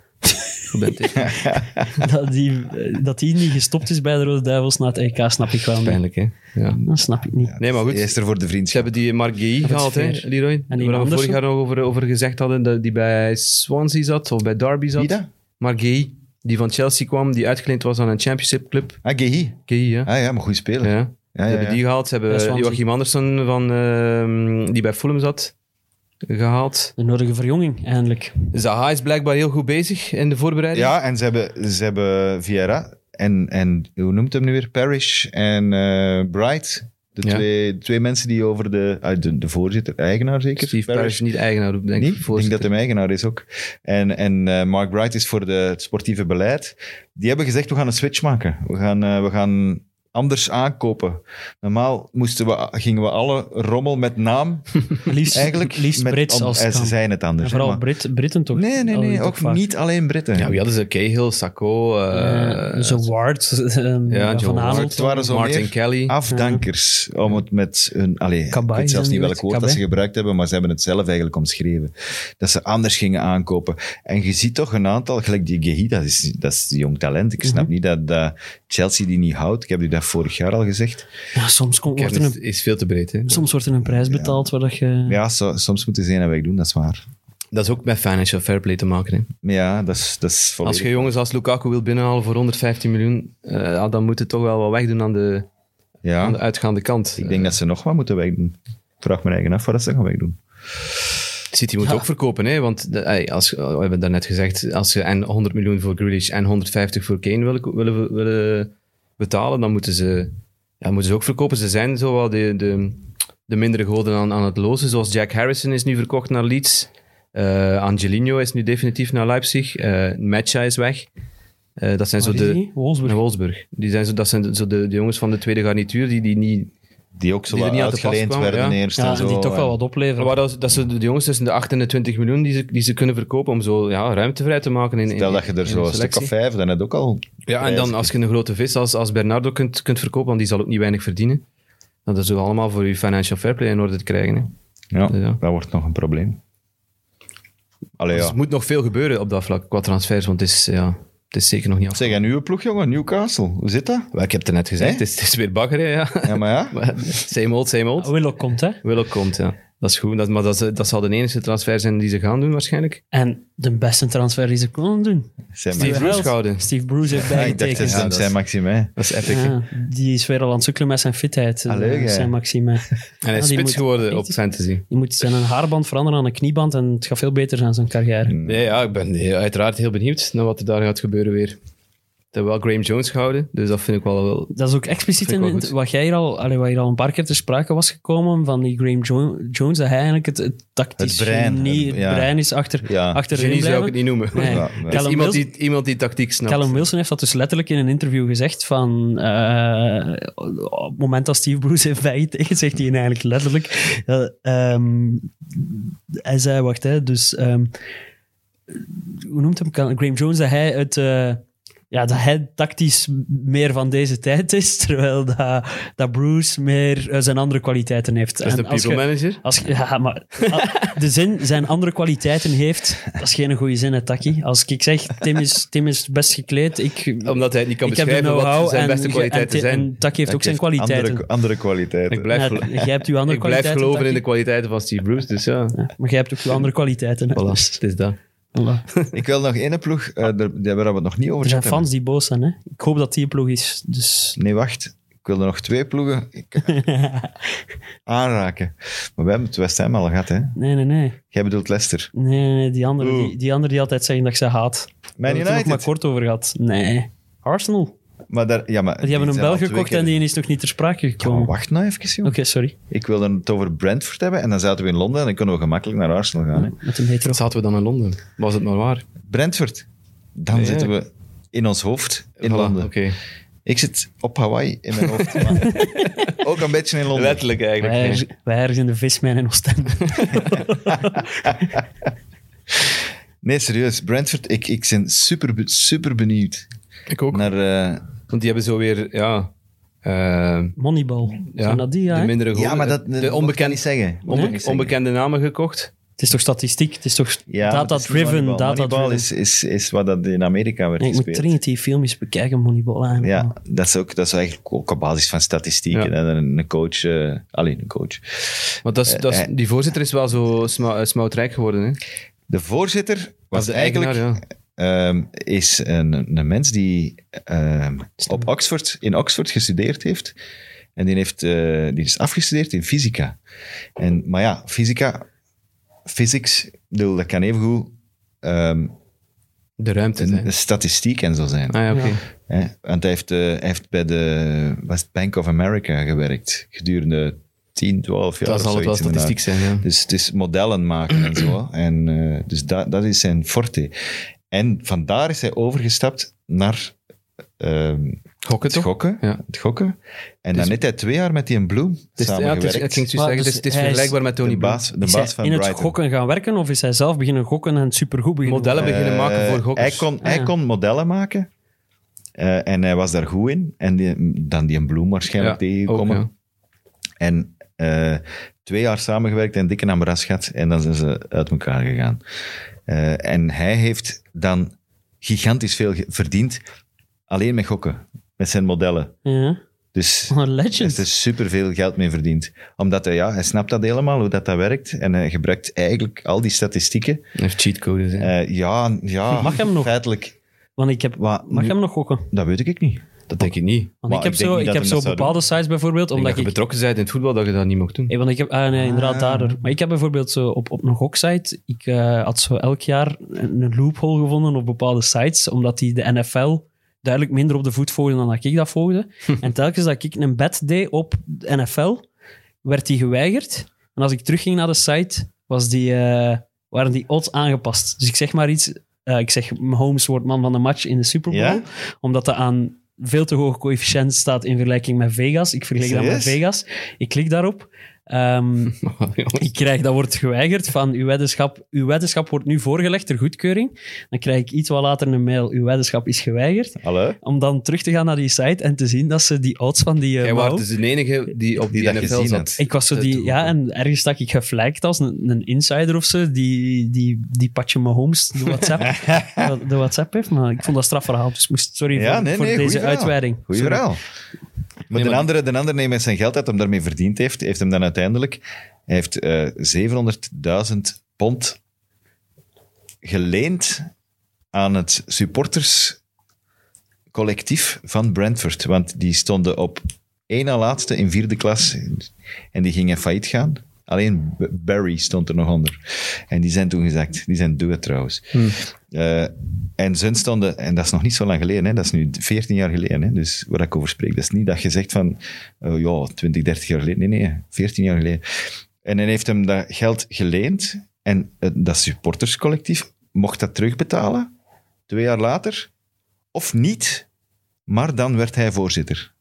Voor Benteke. Dat, die, eh, dat die niet gestopt is bij de Rode Duivels na het EK, snap ik wel niet. Pijnlijk, hè? Ja. Dat snap ik niet. Nee, maar goed. Die is er voor de Ze vriendschap. hebben die Mark Guy gehaald, hè, fair. Leroy? En die Waar we vorig Andersen? jaar nog over, over gezegd hadden, dat die bij Swansea zat of bij Derby zat. Wie dat? Mark Guy, die van Chelsea kwam, die uitgeleend was aan een championship club. Ah, Gehi. Guy, ja. Ah ja, maar goed ja. spelen. Ze Ja, ja, hebben ja. die gehaald. Ze Bij hebben Swansea. Joachim Andersen, van, ehm, die bij Fulham zat, gehaald. De nodige verjonging, eindelijk. Zaha is blijkbaar heel goed bezig in de voorbereiding. Ja, en ze hebben, ze hebben Vieira en, en hoe noemt hem nu weer? Parrish en eh, Bright. De Ja. twee, twee mensen die over de, ah, de, de voorzitter, eigenaar zeker? Steve Parrish, niet eigenaar, denk ik. Nee, ik denk voorzitter. dat hij eigenaar is ook. En, en eh, Mark Bright is voor de, het sportieve beleid. Die hebben gezegd, we gaan een switch maken. We gaan, eh, we gaan anders aankopen. Normaal moesten we, gingen we alle rommel met naam Liefst, eigenlijk... liefst met, Brits om- als en het Ze kan. zijn het anders. En vooral hè, maar- Brit, Britten toch? nee, nee, nee. altijd Ook vaak. niet alleen Britten. Ja, wie hadden ze? Cahill, Sacco. eh, Eh, Zo Ward, ehm, Ja, Joe Van Ward. Aanholt. Het waren zo Martin meer Kelly. afdankers. Om het met hun... Allee, Kabai ik weet zelfs zijn niet die welk met- woord dat ze Kabai? gebruikt hebben, maar ze hebben het zelf eigenlijk omschreven. Dat ze anders gingen aankopen. En je ziet toch Mhm. een aantal... Gelijk die Gehi, dat is, dat is jong talent. Ik snap niet dat, dat Chelsea die niet houdt. Ik heb u dat vorig jaar al gezegd. Ja, soms, komt wordt er Kennis een, is veel te breed. Hè? soms wordt er een prijs betaald waar dat je... Ja, so- soms moeten ze één en weg doen, dat is waar. Dat is ook met financial fair play te maken. Hè? Maar Ja, dat is, dat is Als volledig... je jongens als Lukaku wil binnenhalen voor 115 miljoen, eh, ja, dan moet je toch wel wat wegdoen aan de, aan Ja, de uitgaande kant. ik denk dat ze nog wat moeten wegdoen. Ik vraag me eigen af wat ze gaan wegdoen. City moet ook verkopen, hè? want de, ey, als, we hebben daarnet gezegd, als je en 100 miljoen voor Grealish en 150 voor Kane willen, willen, willen betalen, dan moeten ze, ja, moeten ze ook verkopen. Ze zijn zo wat de, de, de mindere goden aan, aan het lozen, zoals Jack Harrison is nu verkocht naar Leeds, Eh Angelino is nu definitief naar Leipzig, eh Matcha is weg. Eh, dat zijn zo Waar is de... die? Wolfsburg. Naar Wolfsburg. Die zijn zo, dat zijn zo de, de jongens van de tweede garnituur die, die niet... Die ook zo Die er wat niet aan te pas uitgeleend kwamen, werden ja. eerst Ja, en zo. en die toch wel wat Waar opleveren. dat, dat ze de jongens tussen de 8 en de 20 miljoen die ze, die ze kunnen verkopen om zo ja, ruimte vrij te maken. In, in- Stel dat je in er de zo een stuk selectie. of vijf, dan heb je ook al... Ja, en dan als je een grote vis als, als Bernardo kunt, kunt verkopen, want die zal ook niet weinig verdienen. Dat is zo allemaal voor je financial fair play in orde te krijgen. Hè. Ja, Ja. dat wordt nog een probleem. Allee, Dus ja. er moet nog veel gebeuren op dat vlak qua transfers, want het is, ja, het is zeker nog niet af. Zeg, een nieuwe ploeg, jongen, Newcastle. Hoe zit dat? Wel, Ik heb het er net gezegd, Hè? het is, het is weer bagger, hè, ja. Ja, maar ja. Maar same old, same old. Willock komt, hè. Willock komt, ja. Dat is goed, dat, maar dat, is- dat zal de enige transfer zijn die ze gaan doen waarschijnlijk. En de beste transfer die ze konden doen. Zijn Steve Max- Bruce Geweld. gehouden. Steve Bruce heeft Ja, Ah, ik dacht, dat bijgetekend. is zijn Maxime. Dat is epic. hè. Ja, die is weer al aan het sukkelen met zijn fitheid. eh, Allee, hè. zijn Maxime. En hij is Ja, Ah, die spits moet geworden echt op iets- fantasy. Je moet zijn haarband veranderen aan een knieband en het gaat veel beter zijn zijn carrière. Nee, ja, ik ben heel- uiteraard heel benieuwd naar wat er daar gaat gebeuren weer. Ze hebben wel Graham Jones gehouden, dus dat vind ik wel... wel Dat is ook expliciet Vind ik in, wel in goed. wat jij hier al, allee, wat hier al een paar keer ter sprake was gekomen van die Graham Jo- Jones, dat hij eigenlijk het, het tactisch Het brein, genie, het- het ja. brein is achter, Ja. achter genie zou ik het blijven. niet noemen. Nee. Ja, ja. Callum, Het is iemand, Wilson, die, iemand die tactiek snapt. Callum Wilson heeft dat dus letterlijk in een interview gezegd van eh, op het moment dat Steve Bruce heeft bijgetekend, zegt hij eigenlijk letterlijk ja, ehm, hij zei, wacht hè, dus ehm, hoe noemt hem Cal- Graham Jones, dat hij het eh, ja, dat hij tactisch meer van deze tijd is, terwijl dat, dat Bruce meer eh, zijn andere kwaliteiten heeft. Dat is En de als people je- manager. als, je- ja, maar a- de zin zijn andere kwaliteiten heeft, dat is geen goede zin, hè, Taki. Als ik zeg, Tim is, Tim is best gekleed, ik, Omdat hij het niet kan ik heb de beschrijven wat know-how zijn en, beste ge- kwaliteiten en, Ti- zijn. en Taki heeft ook zijn kwaliteiten. Andere, andere kwaliteiten. Ik blijf, Ja, gelo- jij hebt uw andere ik blijf kwaliteiten, geloven in de Taki. kwaliteiten van Steve Bruce, dus ja. Maar jij hebt ook uw andere kwaliteiten. hè. Voilà, Dus, het is dat. voilà. Ik wil nog één ploeg, eh, daar, daar hebben we het nog niet over Er gehad zijn hebben. fans die boos zijn. Hè? Ik hoop dat die een ploeg is. Dus Nee, wacht. Ik wil er nog twee ploegen ik- aanraken. Maar we hebben het West Ham al gehad, hè? nee, nee, nee. Jij bedoelt Leicester. Nee, nee, nee, Die andere Oeh. die, die, andere die altijd zeggen dat ik ze haat. Man Daar hebben we het er nog maar United. kort over gehad. Nee. Arsenal. Maar daar, ja, maar Die, hebben een zijn al Belg twee gekocht keer- en die is nog niet ter Ja, sprake maar gekomen. Oké, wacht nou even, joh. sorry. Ik wilde het over Brentford hebben en dan zaten we in Londen en dan kunnen we gemakkelijk naar Arsenal gaan. hè. Met een hetero. Zaten we dan in Londen? Was het maar waar? Brentford. Dan Ja. zitten we in ons hoofd in Voilà, Londen. oké. Ik zit op Hawaii in mijn hoofd. maar ook een beetje in Londen. Letterlijk eigenlijk. Wij, erg- wij ergens in de vismijn in Oostende. Nee, serieus. Brentford, ik, ik ben super, be- super benieuwd Ik ook. naar... eh, Want die hebben zo weer, ja... eh, Moneyball. Zijn dat die, ja, de hè? mindere ja, goden. maar dat, de dat kan onbekende, niet zeggen. Dat onbe- kan niet zeggen. onbekende namen gekocht. Het is toch statistiek? Het is toch Ja, maar het is niet data-driven? Moneyball. Data Moneyball is, is, is wat dat in Amerika werd nee, ik moet gespeeld. dringend die filmpjes bekijken, Moneyball. eigenlijk. Ja, dat is, ook, dat is eigenlijk ook op basis van statistieken. Ja. En een een coach... eh, alleen een coach. Want dat is, dat is- eh. die voorzitter is wel zo sma, eh, smoutrijk geworden. Hè? De voorzitter was de eigenlijk... eigenaar, ehm, is een, een mens die ehm, op Oxford, in Oxford gestudeerd heeft. En die, heeft, eh, die is afgestudeerd in fysica. En, maar ja, fysica... Physics, ik bedoel, dat kan evengoed ehm De ruimte zijn. een statistiek en zo zijn. Ah ja, oké. Ja. Hè? Want hij heeft, eh, hij heeft bij de West Bank of America gewerkt gedurende 10, 12 jaar. Dat of zal het wel zoiets, inderdaad. statistiek zijn, ja. Dus het is modellen maken en zo. En, eh, dus dat, dat is zijn forte. En vandaar is hij overgestapt naar ehm, Gokken het toch? gokken. Ja. Het gokken. En dan heeft hij twee jaar met die Bloem Het is, ja, het samengewerkt. is, ik ging zo Maar zeggen, dus het is, het is hij is- vergelijkbaar met Tony de Blaas. baas, de Is baas hij van in Brighton. het gokken gaan werken of is hij zelf beginnen gokken en supergoed beginnen Modellen worden? beginnen maken voor Eh, gokkers. Hij kon, Ah, ja. hij kon modellen maken. Eh, en hij was daar goed in. En die, dan die Bloem waarschijnlijk Ja, tegengekomen. ook, En eh, twee jaar samengewerkt en dikke ambras gehad. En dan zijn ze uit elkaar gegaan. Eh, en hij heeft dan gigantisch veel ge- verdiend. Alleen met gokken. Met zijn modellen. Ja. Dus Wat een hij legend. heeft er superveel geld mee verdiend. Omdat hij, ja, hij snapt dat helemaal, hoe dat, dat werkt. En hij gebruikt eigenlijk al die statistieken. heeft cheatcodes. hè. Eh, ja, ja, Mag hem nog? feitelijk. Want ik heb... Wat, Mag nu- ik hem nog gokken? Dat weet ik niet. dat denk ik niet. Ik Want Maar ik heb ik denk zo, niet ik dat heb hem zo dat zou bepaalde sites bijvoorbeeld, denk dat omdat je ik... betrokken bent in het voetbal, dat je dat niet mocht doen. Nee, want ik heb, ah, nee, inderdaad, Ah. daardoor. Maar ik heb bijvoorbeeld zo op, op een goksite, ik eh, had zo elk jaar een een loophole gevonden op bepaalde sites, omdat die de NFL duidelijk minder op de voet volgde dan dat ik dat volgde. en telkens dat ik een bet deed op de NFL, werd die geweigerd. En als ik terugging naar de site, was die, eh, waren die odds aangepast. Dus ik zeg maar iets, eh, ik zeg Mahomes wordt man van de match in de Super Bowl, Ja? omdat dat aan veel te hoge coëfficiënt staat in vergelijking met Vegas. Ik vergelijk dat met Serieus? Vegas. Ik klik daarop. Ehm, ik krijg, dat wordt geweigerd van uw weddenschap. Uw weddenschap wordt nu voorgelegd ter goedkeuring. Dan krijg ik iets wat later een mail. Uw weddenschap is geweigerd. Hallo? Om dan terug te gaan naar die site en te zien dat ze die odds van die. eh, Jij wou- was dus de enige die op Die die, dat NFL gezien zat. had. ik was zo eh, die, toe- ja, en ergens dat ik geflagd als een, een insider of zo, die, die, die Patje Mahomes de WhatsApp, de WhatsApp heeft. Maar ik vond dat strafverhaal, dus moest, sorry Ja, voor, nee, voor nee, deze goeie verhaal. uitweiding. Goeie Sorry. verhaal. Maar de, maar- andere, de andere neemt met zijn geld dat hem daarmee verdiend heeft, heeft hem dan uiteindelijk hij heeft eh 700.000 pond geleend aan het supporterscollectief van Brentford. Want die stonden op één na laatste in vierde klas en die gingen failliet gaan. Alleen B- Barry stond er nog onder. En die zijn toen gezakt. Die zijn dood trouwens. Hmm. Eh, en zijn stonden, en dat is nog niet zo lang geleden, hè, dat is nu 14 jaar geleden, hè, dus waar ik over spreek. Dat is niet dat je zegt van, eh, ja, 20, 30 jaar geleden. Nee, nee, 14 jaar geleden. En hij heeft hem dat geld geleend en eh, dat supporterscollectief mocht dat terugbetalen, twee jaar later, of niet, maar dan werd hij voorzitter.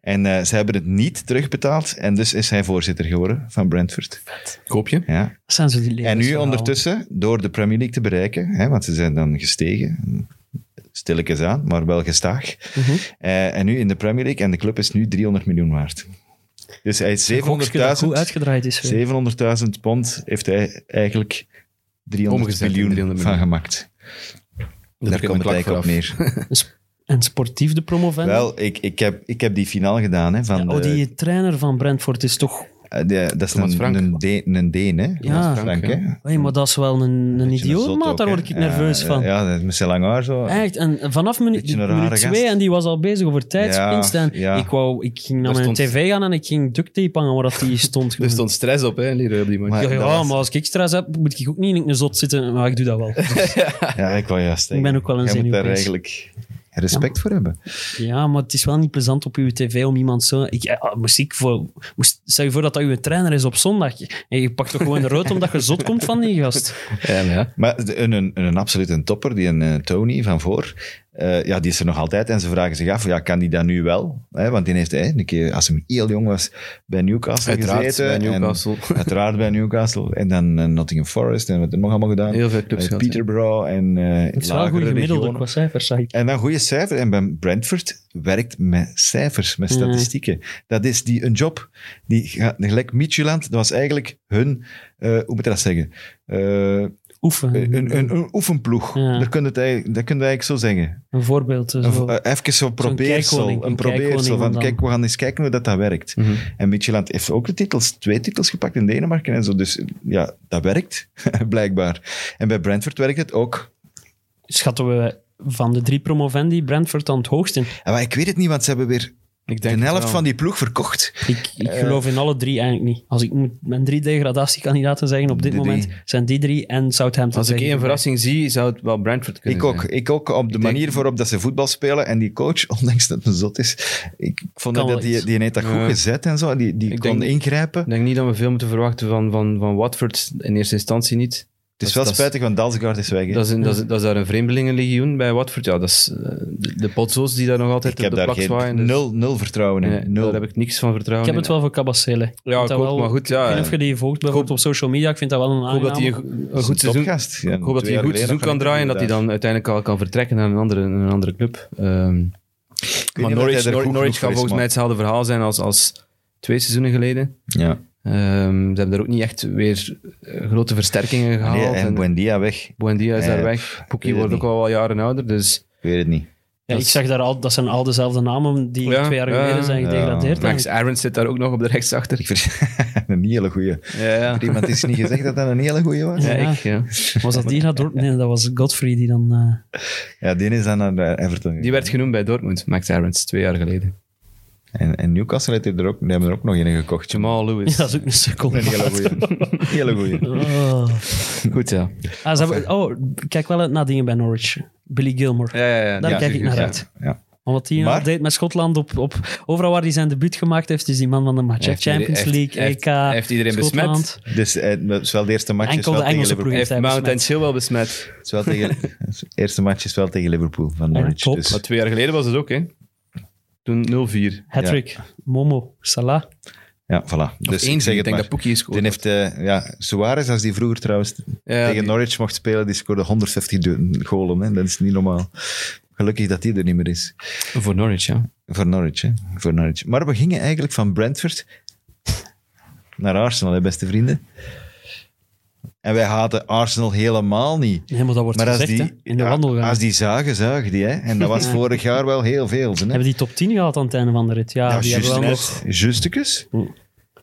En eh, ze hebben het niet terugbetaald en dus is hij voorzitter geworden van Brentford. Koop je? Ja. Dat zijn zo die En nu levensverhalen. ondertussen, door de Premier League te bereiken, hè, want ze zijn dan gestegen, stilletjes aan, maar wel gestaag. Mhm. Eh, en nu in de Premier League, en de club is nu 300 miljoen waard. Dus hij is 700.000 Gokske dat goed uitgedraaid is. weer. 700.000 pond, heeft hij eigenlijk 300 Omgezet in miljoen 300 van miljoen. gemaakt. Daar Daar heb ik komt mijn het plak eigenlijk op vanaf. neer. En sportief de promovendus. Wel, eh, ik, ik, heb, ik heb die finale gedaan. Hè, van Ja, oh, de- die trainer van Brentford is toch... eh, de- dat is Thomas een, Frank. een, Deen, een Deen, hè? Ja. Frank, hè? Beetje Hey, maar dat is wel een, een een idioot, zot maat. ook, Daar hè? word ik nerveus Ja, van. Ja, met zijn lang haar zo. Echt, en vanaf minuut, Beetje een rare minuut gast. twee, en die was al bezig over tijdswinst. Ja, en ja. ik, wou, ik ging naar Daar mijn stond- tv gaan en ik ging duct tape hangen waar dat die stond. Er stond stress op, hè, Leroy, op die match. Maar- ja, dat ja, was- maar als ik stress heb, moet ik ook niet in een zot zitten. Maar ik doe dat wel. Ja, ik wou juist zeggen. Ik ben ook wel een Jij moet daar zenuwbeest. eigenlijk respect voor hebben. Ja, maar het is wel niet plezant op uw tv om iemand zo... Ik, eh, moest ik voor, moest, stel je voor dat dat uw trainer is op zondag. En je pakt toch gewoon rood omdat je zot komt van die gast. Ja, maar ja. Maar de- een, een, een absolute topper, die een eh, Tony van voor, eh, ja, die is er nog altijd. En ze vragen zich af, ja, kan die dat nu wel? Hè, want die heeft eh, een keer, als hij heel jong was, bij Newcastle Uiteraard gezeten. bij en- Newcastle. uiteraard bij Newcastle. En dan eh, Nottingham Forest en wat er nog allemaal gedaan. Heel veel clubs Eh, gehad, ja. Peterborough en eh Het is Nou, wel een goede gemiddelde qua regionen. cijfers, zag ik. En dan goede cijfers. En bij Brentford werkt met cijfers, met statistieken. Dat is die, een job. Die gaat, gelijk Micheland, dat was eigenlijk hun, eh, hoe moet je dat zeggen? Eh, Oefen, een, een, een oefenploeg. Ja. Daar kun je het eigenlijk, dat kun je eigenlijk zo zeggen. een voorbeeld. eh, Een vo- zo. eh, even zo'n probeersel. kijkkoning, Een, een probeersel. kijkkoning Van, dan. kijk, we gaan eens kijken hoe dat, dat werkt. En Micheland heeft ook de titels, twee titels gepakt in Denemarken en zo. Dus ja, dat werkt, blijkbaar. En bij Brentford werkt het ook. Schatten we van de drie promovendi Brentford aan het hoogst in. Ja, Maar ik weet het niet, want ze hebben weer Ik de denk het helft wel. van die ploeg verkocht. Ik, Eh, ik geloof in alle drie eigenlijk niet. Als ik moet mijn drie degradatiekandidaten zeggen op dit De moment, drie. zijn die drie en Southampton. Als ik zeggen. één verrassing zie, zou het wel Brentford kunnen Ik ook. zijn. Ik ook op de denk- manier waarop dat ze voetbal spelen. En die coach, ondanks dat het een zot is, ik, ik vond Kan dat wel die, iets. die heeft dat goed Ja. gezet en zo. Die, die Ik kon denk- ingrijpen. Ik denk niet dat we veel moeten verwachten van, van, van Watford. In eerste instantie niet. Het is wel spijtig, want Dalsgaard is weg. hè. Dat is, een, dat, is, dat is daar een vreemdelingenlegioen bij Watford. Ja, dat is eh, de, de potzo's die daar nog altijd ik heb op de daar plak zwaaien. geen, dus- nul, nul vertrouwen in. Nee, nul. Daar heb ik niks van ik vertrouwen heb het in. wel voor Cabacele. Ja, ik ook, maar goed, ja. Ik weet niet of je die volgt bijvoorbeeld op social media. Ik vind dat wel een Ik hoop dat hij een, aangename... go- een Dat is goed een seizoen, topgast. Ja, ik hoop dat twee hij een jaar goed geleden nog seizoen kan draaien en dat hij inderdaad. dan uiteindelijk al kan vertrekken naar een andere, naar een andere club. Ehm, Ik weet maar niet of Norwich, hij er Nor- goed Norwich genoeg voor kan is, volgens mij hetzelfde verhaal zijn als, als twee seizoenen geleden. maar- Ja. Ehm, ze hebben daar ook niet echt weer eh, grote versterkingen gehaald. Ah, Nee, en en Buendia weg. Buendia is Eh, daar pff, eh, weg. weet Poekie het wordt ook niet. al wel jaren ouder. Dus Ik weet het niet. Ja, ik is- zag daar al, dat zijn al dezelfde namen die Ja, twee jaar ja, geleden zijn ja. gedegradeerd. Max Arons zit daar ook nog op de rechtsachter. Ik ver- een hele goeie. Ja, ja. Er Iemand is niet gezegd dat dat een hele goeie was. Ja, Ja. ik, ja. Was dat die naar Dortmund? Nee, dat was Godfrey die dan... eh, Ja, die is dan naar eh, Everton. Die werd genoemd bij Dortmund, Max Arons, twee jaar geleden. En, en Newcastle heeft er ook, die hebben er ook nog een gekocht. Jamal Lewis. ja, dat is ook een sukkel. Een hele goeie. hele goeie. Oh. Goed, ja. Ah, ze hebben- oh, kijk wel naar dingen bij Norwich. Billy Gilmore. Ja, ja, ja. Daar Ja, kijk ik figuur, naar ja. uit. Ja. Want wat hij eh, Maar- deed met Schotland, op, op, overal waar hij zijn debuut gemaakt heeft, is die man van de match. hè. Heeft iedereen- Champions heeft- League, heeft- EK, heeft iedereen besmet? Schotland. Dus eh, dat is wel de eerste match. is Enkel wel de tegen Liverpool. Engelse ploegen. Heeft Heeft hij Mount en besmet. Chill wel besmet. Het is wel tegen, de eerste match is wel tegen Liverpool van Ja, Norwich. top. dus- Maar twee jaar geleden was het ook, hè. Toen 0-4. Hattrick, Momo, Salah. ja, voilà. Dus Eén, ik zeg ik het denk maar. dat Poekie is Die heeft, eh, ja, Suarez, als die vroeger trouwens tegen die- Norwich mocht spelen, die scoorde 150 do- golen. Hè. Dat is niet normaal. Gelukkig dat die er niet meer is. Voor Norwich, ja. Voor Norwich, hè. Voor Norwich. Maar we gingen eigenlijk van Brentford naar Arsenal, hè, beste vrienden. En wij haten Arsenal helemaal niet. Nee, maar dat wordt Maar als gezegd, die, hè, in de ja, wandelgang. als die zagen, zagen die. Hè. En dat was vorig jaar wel heel veel. Hè. Hebben die top 10 gehad aan het einde van de rit? Ja, die hebben wel nog... juist. Justicus?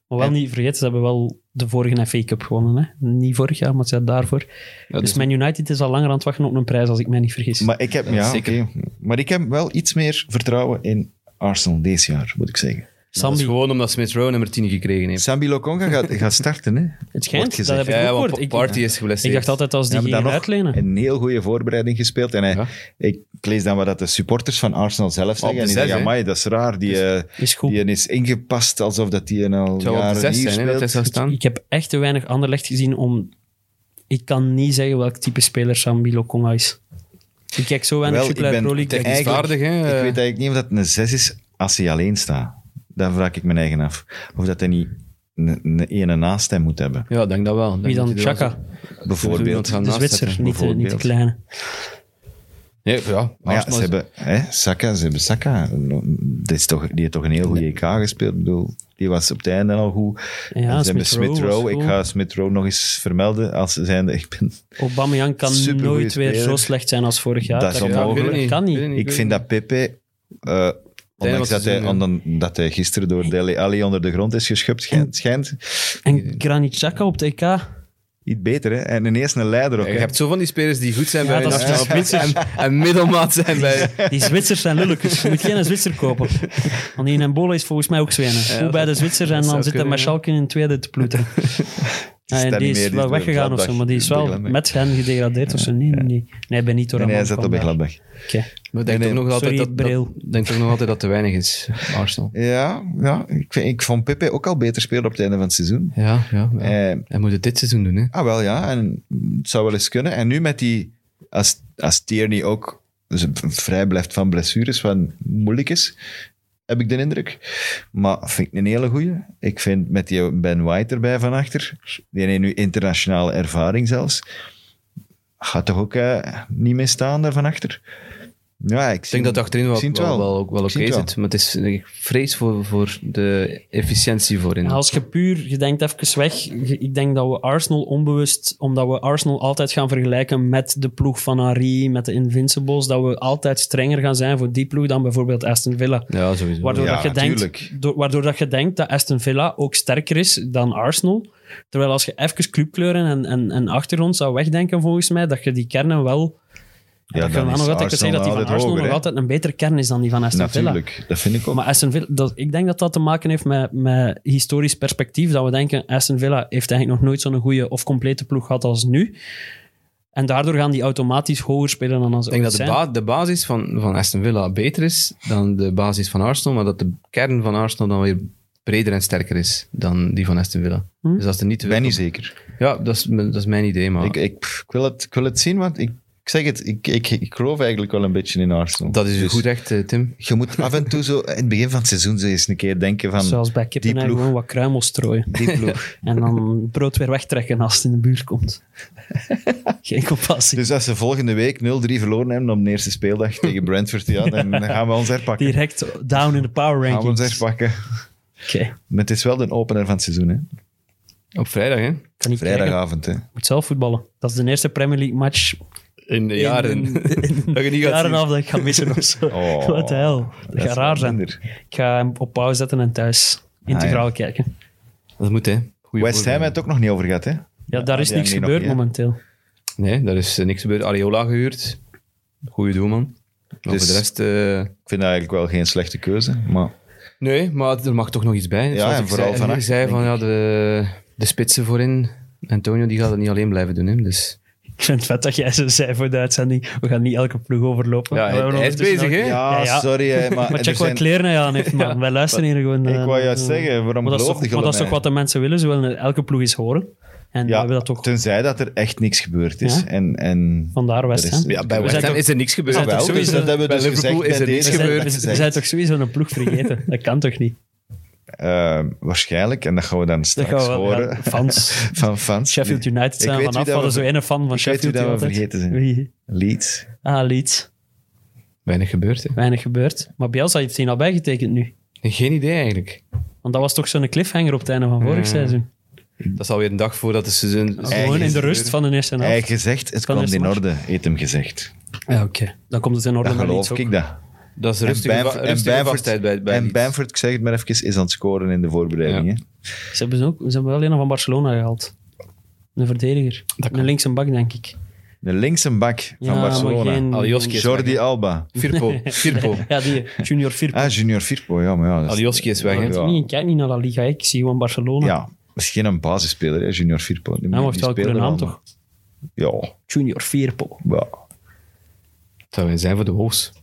Maar wel niet vergeten, ze hebben wel de vorige FA Cup gewonnen. Hè? Niet vorig jaar, maar het jaar daarvoor. dus is- Man United is al langer aan het wachten op een prijs, als ik mij niet vergis. Maar ik, heb, ja, zeker. oké. maar ik heb wel iets meer vertrouwen in Arsenal dit jaar, moet ik zeggen. Dat is Sambi, gewoon omdat Smith Rowe nummer 10 gekregen heeft. Sambi Lokonga gaat, gaat starten, hè? het wordt schijnt, dat gezegd. heb ik Ja, ook want gehoord. Ik, Party is ik geblesseerd. dacht altijd, als die Ja, maar gingen dan nog uitlenen... Een heel goede voorbereiding gespeeld. En hij, Ja. ik, ik lees dan wat dat de supporters van Arsenal zelf zeggen. de En die zes, zeggen, hè? amai, dat is raar. Die, eh, Is goed. die is ingepast alsof dat die een al Het zou wel op de jaren 6 hier zijn, hè, dat hij speelt. zou staan. Ik heb echt te weinig Anderlecht gezien om... Ik kan niet zeggen welk type speler Sambi Lokonga is. Ik kijk zo weinig Wel, ik Jupiler ben Pro League. technisch dat ik- vaardig, hè. Ik weet eigenlijk niet of dat een 6 is als hij alleen staat. Daar vraag ik mijn eigen af. Of dat hij niet een, een ene naast hem moet hebben, Ja, ik denk dat wel. Ik denk Wie dan? dat hij er wel Chaka, bijvoorbeeld. gaan de naast Zwitser, zetten, niet de, niet de bijvoorbeeld. kleine. zo- Nee, ja. Maar ja, Arsenal ze is- hebben, hè, Saka, ze hebben Saka. Dit is toch, die heeft toch een heel goede EK gespeeld. Ik bedoel, die was op het einde al goed. Ja, En ze hebben Smith-Rowe Smith Rowe. was Ik goed. ga Smith Rowe nog eens vermelden als zijnde. Ik, ben, Aubameyang kan Supergoeie nooit weer speler. zo slecht zijn als vorig jaar. Dat is kan- Ja, ik weet onmogelijk. het niet. kan niet. Ik weet het ik vind dat Pepe. eh ondanks wat dat hij, seizoen, omdat hij gisteren door Dele Alli onder de grond is geschupt, schijnt, schijnt En Granit Xhaka op het EK. iets beter. Hè? En ineens een leider ook. Ja, hè. je hebt zo van die spelers die goed zijn Ja, bij de dat is nationale de ploeg en, en middelmaat zijn bij... Die Zwitsers zijn lulletjes. Je moet geen Zwitser kopen. Want die in Embola is volgens mij ook zwenen. Hoe bij de Zwitsers en dan zou zit hij kunnen, met ja. Schalke in het tweede te ploeteren. Ja, en daar die niet is meer, wel die is weggegaan of Gladbach. zo, maar die is wel Gladbach. met hen gedegradeerd of zo. Nee, nee, nee. Nee, ben niet door en hij Ramon zat kwam op de daar. Gladbach. Oké. Maar ik denk nee. toch nog Sorry, altijd dat, bril. dat, ik denk toch nog altijd dat te weinig is, Arsenal. Ja, ja ik, vind- ik vond Pepe ook al beter spelen op het einde van het seizoen. Ja, ja. ja. Eh, Hij moet het dit seizoen doen, hè. Ah, wel ja. En het zou wel eens kunnen. En nu met die... Als, als Tierney ook z- vrij blijft van blessures, wat moeilijk is, heb ik de indruk. Maar vind ik een hele goeie. Ik vind met die Ben White erbij van achter, die heeft nu internationale ervaring zelfs, gaat toch ook eh, niet mee staan daar van achter? Ja, ik, Ik denk dat het achterin wel, zie het wel, wel, wel. wel, wel Ik oké zie het wel. zit. Maar het is, ik vrees voor, voor de efficiëntie voorin. En Als je puur, je denkt even weg. je- Ik denk dat we Arsenal onbewust, omdat we Arsenal altijd gaan vergelijken met de ploeg van Henry, met de Invincibles, dat we altijd strenger gaan zijn voor die ploeg dan bijvoorbeeld Aston Villa. Ja, sowieso. Waardoor, Ja, dat je tuurlijk. denkt, door- waardoor dat je denkt dat Aston Villa ook sterker is dan Arsenal. Terwijl als je even clubkleuren en, en, en achtergrond zou wegdenken, volgens mij, dat je die kernen wel... Ja, dat je dan wel is nog altijd kunt zeggen dat die van Arsenal altijd Arsenal hoger, nog hè? altijd een betere kern is dan die van Aston Villa. Natuurlijk, dat vind ik ook. Maar Aston Villa, dat, ik denk dat dat te maken heeft met, met historisch perspectief. Dat we denken, Aston Villa heeft eigenlijk nog nooit zo'n goede of complete ploeg gehad als nu. En daardoor gaan die automatisch hoger spelen dan als Ik denk dat de, ba- de basis van, van Aston Villa beter is dan de basis van Arsenal, maar dat de kern van Arsenal dan weer breder en sterker is dan die van Aston Villa. Dus als er niet te Ik ben veel- niet zeker. Ja, dat is, mijn- dat is mijn idee, Ah. maar Ik, ik, pff, ik wil het, ik wil het zien, want ik, ik zeg het, ik, ik, ik geloof eigenlijk wel een beetje in Arsenal. dat is Dus goed echt, eh, Tim. Je moet af en toe zo, in het begin van het seizoen, zo eens een keer denken van, Zoals bij kippen die hè, ploeg. gewoon wat kruimels strooien. die ploeg. En dan brood weer wegtrekken als het in de buurt komt. Geen compassie. Dus als ze volgende week 0-3 verloren hebben op de eerste speeldag tegen Brentford, ja, dan gaan we ons herpakken. Direct down in de power gaan we ons rankings. herpakken. Oké. Maar het is wel de opener van het seizoen, hè. Op vrijdag, hè? Kan niet kijken. Vrijdagavond, hè. Moet zelf voetballen. Dat is de eerste Premier League match in de jaren. in- in dat je niet gaat jaren zien. af dat ik ga missen of zo. Oh. Wat de hel. Dat gaat is raar wel zijn. minder. Ah, Ik ga hem op pauze zetten en thuis integraal kijken. Dat moet, hè. West Goeie Ham voorbeeld. heeft het ook nog niet over gehad, hè? Ja, daar is die niks hangen nog gebeurd niet, hè? momenteel. Nee, daar is eh, niks gebeurd. Areola gehuurd. Goeie doelman. Maar Dus- voor de rest... eh, Ik vind dat eigenlijk wel geen slechte keuze. Maar nee, maar er mag toch nog iets bij. Ja, Zoals en ik vooral zei, van ik achter, zei van denk ja, de, de spitsen voorin. Antonio die gaat het niet alleen blijven doen. Hè, dus. Ik vind het vet dat jij zo zei voor de uitzending. We gaan niet elke ploeg overlopen. ja, We hij, hebben hij is ondertussen bezig, nog- hè? ja, Ja, ja. sorry. hè, Maar, Maar er check wat zijn- kleren hij aan heeft, man. Wij luisteren hier gewoon. eh, Ik wou juist eh, zeggen, waarom Maar dat, is geloof toch, maar dat is nou? toch wat de mensen willen. Ze willen elke ploeg eens horen. En wij Ja, willen dat toch tenzij dat er echt niks gebeurd is. Ja. En, en vandaar West er Ham. is, ja, bij Bij We West West zijn Ham toch- is er niks gebeurd. zijn Wel, toch dus sowieso- dat hebben we bij dus Liverpool gezegd bij is er niks deze We zijn, we gebeurd. zijn- we zijn toch sowieso een ploeg vergeten? Dat kan toch niet? Eh, waarschijnlijk, en dat gaan we dan Dat straks gaan we wel horen ja, fans. van fans. Sheffield Nee. United zijn Ik weet wie vanaf. We dat hadden we zo ver- ene fan van Ik weet wie Sheffield. dat we die altijd- vergeten zijn. Wie? Leeds. Ah, Leeds. Weinig gebeurd, hè? Weinig gebeurd. Maar Bielsa heeft hij al bijgetekend nu. Geen idee eigenlijk. Want dat was toch zo'n cliffhanger op het einde van Mm, vorig Ja. seizoen. Dat is alweer een dag voordat de seizoen... Gewoon in de rust van de eerste Hij heeft helft. gezegd, het Van kwam de in eerste orde, heeft hem gezegd. Ja, oké. Dan komt het in orde. Dat met geloof Leeds ook. ik dat. Dat is rustige, Bamf- va- rustige Bamford- vastheid bij, bij en Leeds. Bamford, ik zeg het maar even, is aan het scoren in de voorbereiding. Ja. hè. Ze hebben, ze ook, ze hebben wel een van Barcelona gehaald. Een verdediger. een linkse bak, denk ik. De linkse bak van Ja, maar Barcelona. geen- Alioski is weg, Jordi hè. Alba. Firpo. Firpo. Ja, die junior Firpo. Ah, Junior Firpo, ja, maar ja. dat is- Alioski is weg, hè? Ja. Ik niet- ik kijk niet naar La Liga, ik zie gewoon Barcelona. Ja, misschien een basisspeler, hè, Junior Firpo. Die, Hij die heeft wel een speelde coole naam, wel, toch? maar- Ja, Junior Firpo. ja. Dat zou zijn voor de Wolves.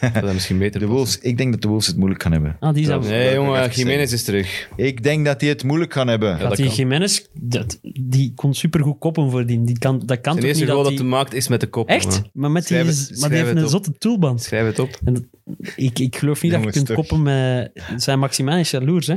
Dat is misschien beter. De Wolves, ik denk dat de Wolves het moeilijk gaan hebben. Ah, die zijn... Nee, jongen, even Jiménez is terug. Ik denk dat die het moeilijk gaan hebben. dat, dat die kan. Jiménez, dat, die kon supergoed koppen voor die. die kan, dat kan Het toch niet eerste goal dat dat hij die... maakt is met de kop. Echt? jongen. Maar, met die, Schrijf het- is- maar schrijf die heeft het een op. zotte toolband. Schrijf het op. En dat- ik, ik geloof niet dat je Jongens, kunt toch. koppen met... Zijn Maximin is jaloers, hè?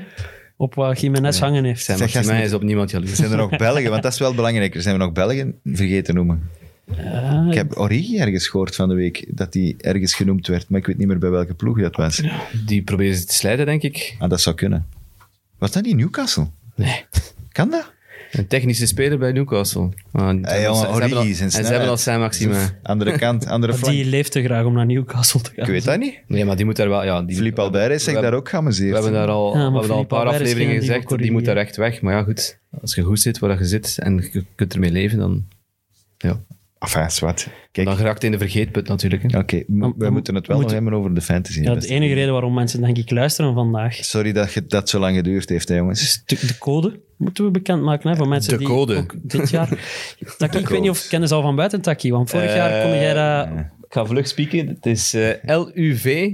Op wat Jiménez hangen heeft. Zijn Zeg, Maxima gasten. is op niemand jaloers. Zijn er nog Belgen? Want dat is wel belangrijker. Zijn we nog Belgen vergeten noemen? Ja, Ik heb Origi ergens gehoord van de week, dat die ergens genoemd werd, maar ik weet niet meer bij welke ploeg dat was. Die proberen ze te slijden, denk ik. Ah, dat zou kunnen. Was dat niet Newcastle? Nee. Kan dat? Een technische speler bij Newcastle. Ah, en Hey, jongen, ze, hebben Origi al, is een en ze hebben snelheid. al zijn Maxima. Andere kant, andere maar die flank. leeft te graag om naar Newcastle te gaan. Ik weet dat niet. Nee, maar die moet daar wel... Ja, die, Philippe Albert is we zich daar hebben- ook geamuseerd. We hebben daar al, we maar hebben al een Philippe paar Albert is afleveringen geen die gezegd, we die moet daar corrigeren. echt weg. Maar ja, goed. Als je goed zit waar je zit en je kunt ermee leven, dan, ja, Enfin, zwart. Kijk, oké, dan geraakt je in de vergeetput natuurlijk. hè. m- dan we moeten het wel moet- nog hebben over de fantasy. Ja, de beste. enige reden waarom mensen, denk ik, luisteren vandaag Sorry dat je dat zo lang geduurd heeft, hè, jongens. Dus de, de code moeten we bekendmaken hè, voor mensen Eh, De die code. ook dit jaar... Taki, ik weet niet of kennen ze al van buiten, Taki, want vorig Eh, jaar kon jij dat... Ik ga vlug spieken. Het is eh, LUV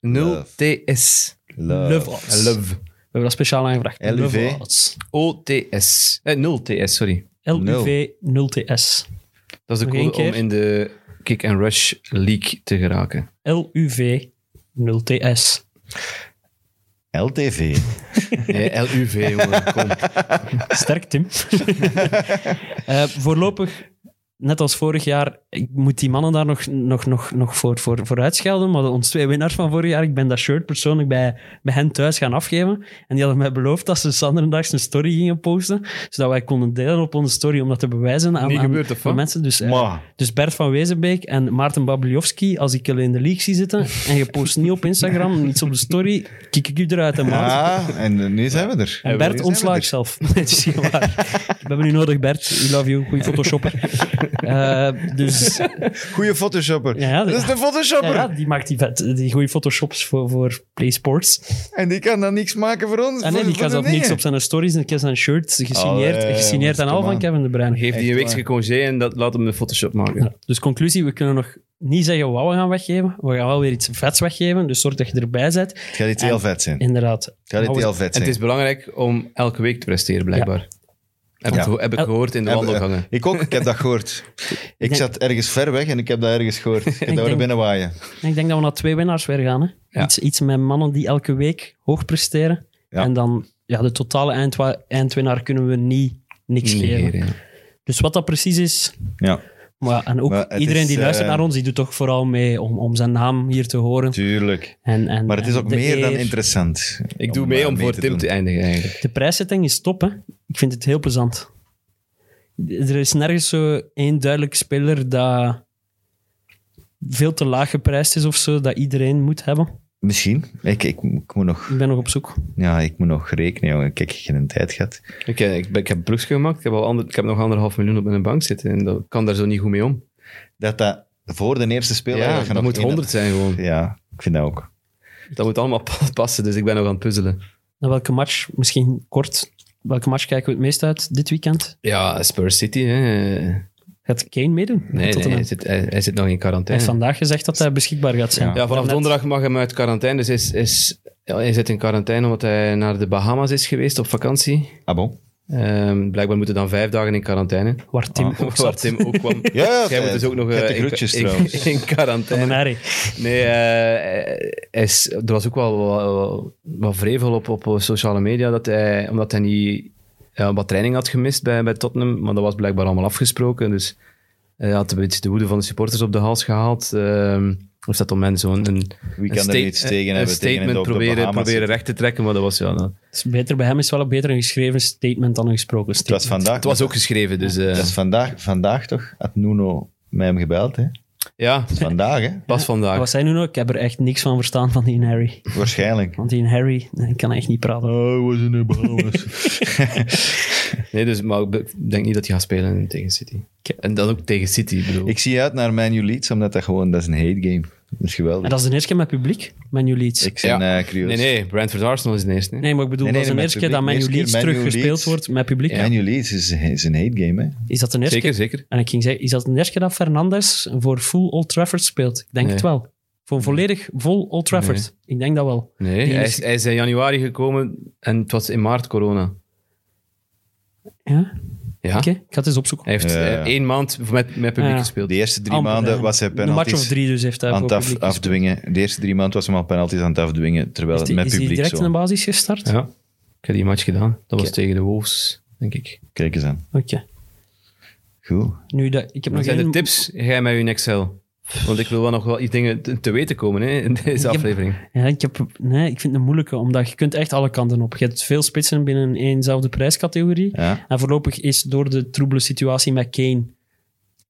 0TS. Love. Love Odds. eh, Love. We hebben dat speciaal aangevraagd. LUV. Love Odds. OTS. Eh, 0TS, sorry. LUV 0TS. Dat is de Nog één code om keer. in de Kick and Rush League te geraken. LUV 0TS. LTV. Nee, LUV, jongen. Kom. Sterk, Tim. Eh, voorlopig, net als vorig jaar, ik moet die mannen daar nog, nog, nog, nog voor, voor, voor uitschelden. Maar onze twee winnaars van vorig jaar, ik ben dat shirt persoonlijk bij, bij hen thuis gaan afgeven. En die hadden mij beloofd dat ze zaterdags een story gingen posten, zodat wij konden delen op onze story om dat te bewijzen aan, Niet aan gebeurd, of de wat? mensen. Dus, eh, Maar, dus Bert van Wezenbeek en Maarten Babliowski, als ik jullie in de league zie zitten en je post niet op Instagram, niets op de story, kik ik u eruit, hè, maat. ah, en eh, nu zijn we er. En Nu Bert zijn dus- we ontslaat er. zelf. Nee, het is niet waar. We hebben u nodig, Bert. We love you. Goeie photoshopper. Eh, dus Goeie photoshopper. Ja, ja, dat is ja. de ja, photoshopper. ja, die maakt die, vet, die goede photoshops voor, voor PlaySports. En die kan dan niks maken voor ons. En voor, Ah, nee, die voor kan de zelf niks dingen. op zijn stories. En ik heb zijn shirt gesigneerd, Allee, gesigneerd jongens, en al kom van aan. Kevin De Bruyne. Geef die een Echt weekse waar. congé en dat, laat hem een Photoshop maken. Ja. Dus conclusie, we kunnen nog niet zeggen wat we gaan weggeven. We gaan wel weer iets vets weggeven, dus zorg dat je erbij bent. Het gaat iets heel vet zijn. Inderdaad. Het gaat Nou, iets heel vet En zijn. het is belangrijk om elke week te presteren, blijkbaar. Heb, ik Ja. geho- heb ik El- gehoord in de Heb- wandelgangen. eh, Ik ook, ik heb dat gehoord. Ik denk- zat ergens ver weg en ik heb dat ergens gehoord. Ik heb dat horen denk- binnenwaaien. En ik denk dat we naar twee winnaars weer gaan. Hè? Ja. Iets, iets met mannen die elke week hoog presteren. Ja. En dan ja, de totale eindwa- eindwinnaar kunnen we niet niks geven. Negeren, ja. Dus wat dat precies is. Ja, Maar, ja, en ook Maar het iedereen is, die luistert eh, naar ons, die doet toch vooral mee om, om zijn naam hier te horen. tuurlijk. En, en, Maar het is en ook de meer dan eer. interessant. Ik doe mee eh, om voor te Tim doen. te eindigen, eigenlijk. De prijszetting is top, hè? Ik vind het heel plezant. Er is nergens zo één duidelijk speler dat veel te laag geprijsd is of zo, dat iedereen moet hebben. Misschien. Ik, ik, ik moet nog, Ik ben nog op zoek. ja, ik moet nog rekenen, jongen. Kijk, ik heb geen tijd gehad. Ik, eh, ik, ben- ik heb broekjes gemaakt, ik heb, al ander, ik heb nog anderhalf miljoen op mijn bank zitten en dat ik kan daar zo niet goed mee om. Dat dat voor de eerste speler... Ja, nog dat moet één- 100 zijn gewoon. Ja, ik vind dat ook. Dat moet allemaal pa- passen, dus ik ben nog aan het puzzelen. Naar welke match, misschien kort, welke match kijken we het meest uit dit weekend? Ja, Spurs City, hè. Gaat Kane meedoen? Nee, nee Tottenham. hij, zit, hij, hij zit nog in Hij quarantaine. heeft vandaag gezegd dat hij beschikbaar gaat zijn. Ja, vanaf Net- donderdag mag hem uit quarantaine, dus is, is, ja, hij zit in quarantaine omdat hij naar de Bahamas is geweest op vakantie. Ah bon? Ehm, blijkbaar moeten dan vijf dagen in quarantaine. Waar Tim ook Ah, Waar zat. Tim ook kwam. Ja, Jij moet dus ook nog Vette eh, in- groetjes in, trouwens. in, quarantaine. Nari. Nee, eh, hij is, er was ook wel wel- wat vrevel op, op sociale media, dat hij, omdat hij niet ja, wat training had gemist bij, bij Tottenham, maar dat was blijkbaar allemaal afgesproken. Dus hij had een beetje de woede van de supporters op de hals gehaald. Ehm of dat om hen zo'n een, Wie een kan er sta- iets tegen een hebben? Tegen statement het op de proberen, Bahamas proberen zitten. recht te trekken, maar dat was ja. nou, Het is Dus beter, bij hem is wel een beter een geschreven statement dan een gesproken Het was statement. vandaag, het was ook geschreven, dus eh, het was vandaag, vandaag toch? Had Nuno mij hem gebeld, hè? ja, Vandaag, hè? pas vandaag. Wat zei nu nog? Ik heb er echt niks van verstaan van die Harry. Waarschijnlijk. Want die Harry, nee, ik kan echt niet praten. Oh, was in de Bahamas. Nee, dus, maar ik denk niet dat hij gaat spelen tegen City. En dan ook tegen City, ik bedoel. ik zie uit naar Man U Leeds, omdat dat gewoon... Dat is een hate game. Dat is En geweldig. dat is de eerste keer met publiek, Man U Leeds. Ik ben Ja. eh, curieus. Nee, nee, Brentford Arsenal is de eerste. hè. Nee, maar ik bedoel, Nee, nee, dat is de nee, met eerste keer dat Man publiek. U De Leeds eerste keer Man U teruggespeeld Leeds. wordt met publiek. Man U Leeds is, is een hate game, hè? Is dat de eerste Zeker, keer? zeker. En ik ging zeggen, is dat de eerste keer dat Fernandes voor full Old Trafford speelt? Ik denk Nee. het wel. Voor een volledig vol Old Trafford. Ik denk dat wel. Nee, Die hij is- is, hij is in januari gekomen en het was in maart corona. Ja? Ah? Ja. Oké, ik ga het eens opzoeken. Hij heeft Ja, ja. eh, één maand met, met publiek Ja. gespeeld. De eerste drie Amper, maanden hè. was hij Een match of penalties drie dus heeft hij aan voor het af- publiek. afdwingen. De eerste drie maanden was hem al penalties aan het afdwingen, terwijl Is het die, met is die publiek direct in de zo. basis gestart? Ja. Ik heb die match gedaan. Dat was Oké. tegen de Wolves, denk ik. Kijk eens aan. Oké. Goed. Nu, dat, ik heb Wat nog zijn één- er tips? Jij met je Excel. Want ik wil wel nog wel iets dingen te, te weten komen hè, in deze Ja. aflevering. Ja, ik, heb, nee, ik vind het een moeilijke, omdat je kunt echt alle kanten op. Je hebt veel spitsen binnen éénzelfde prijscategorie. Ja. En voorlopig is door de troebele situatie met Kane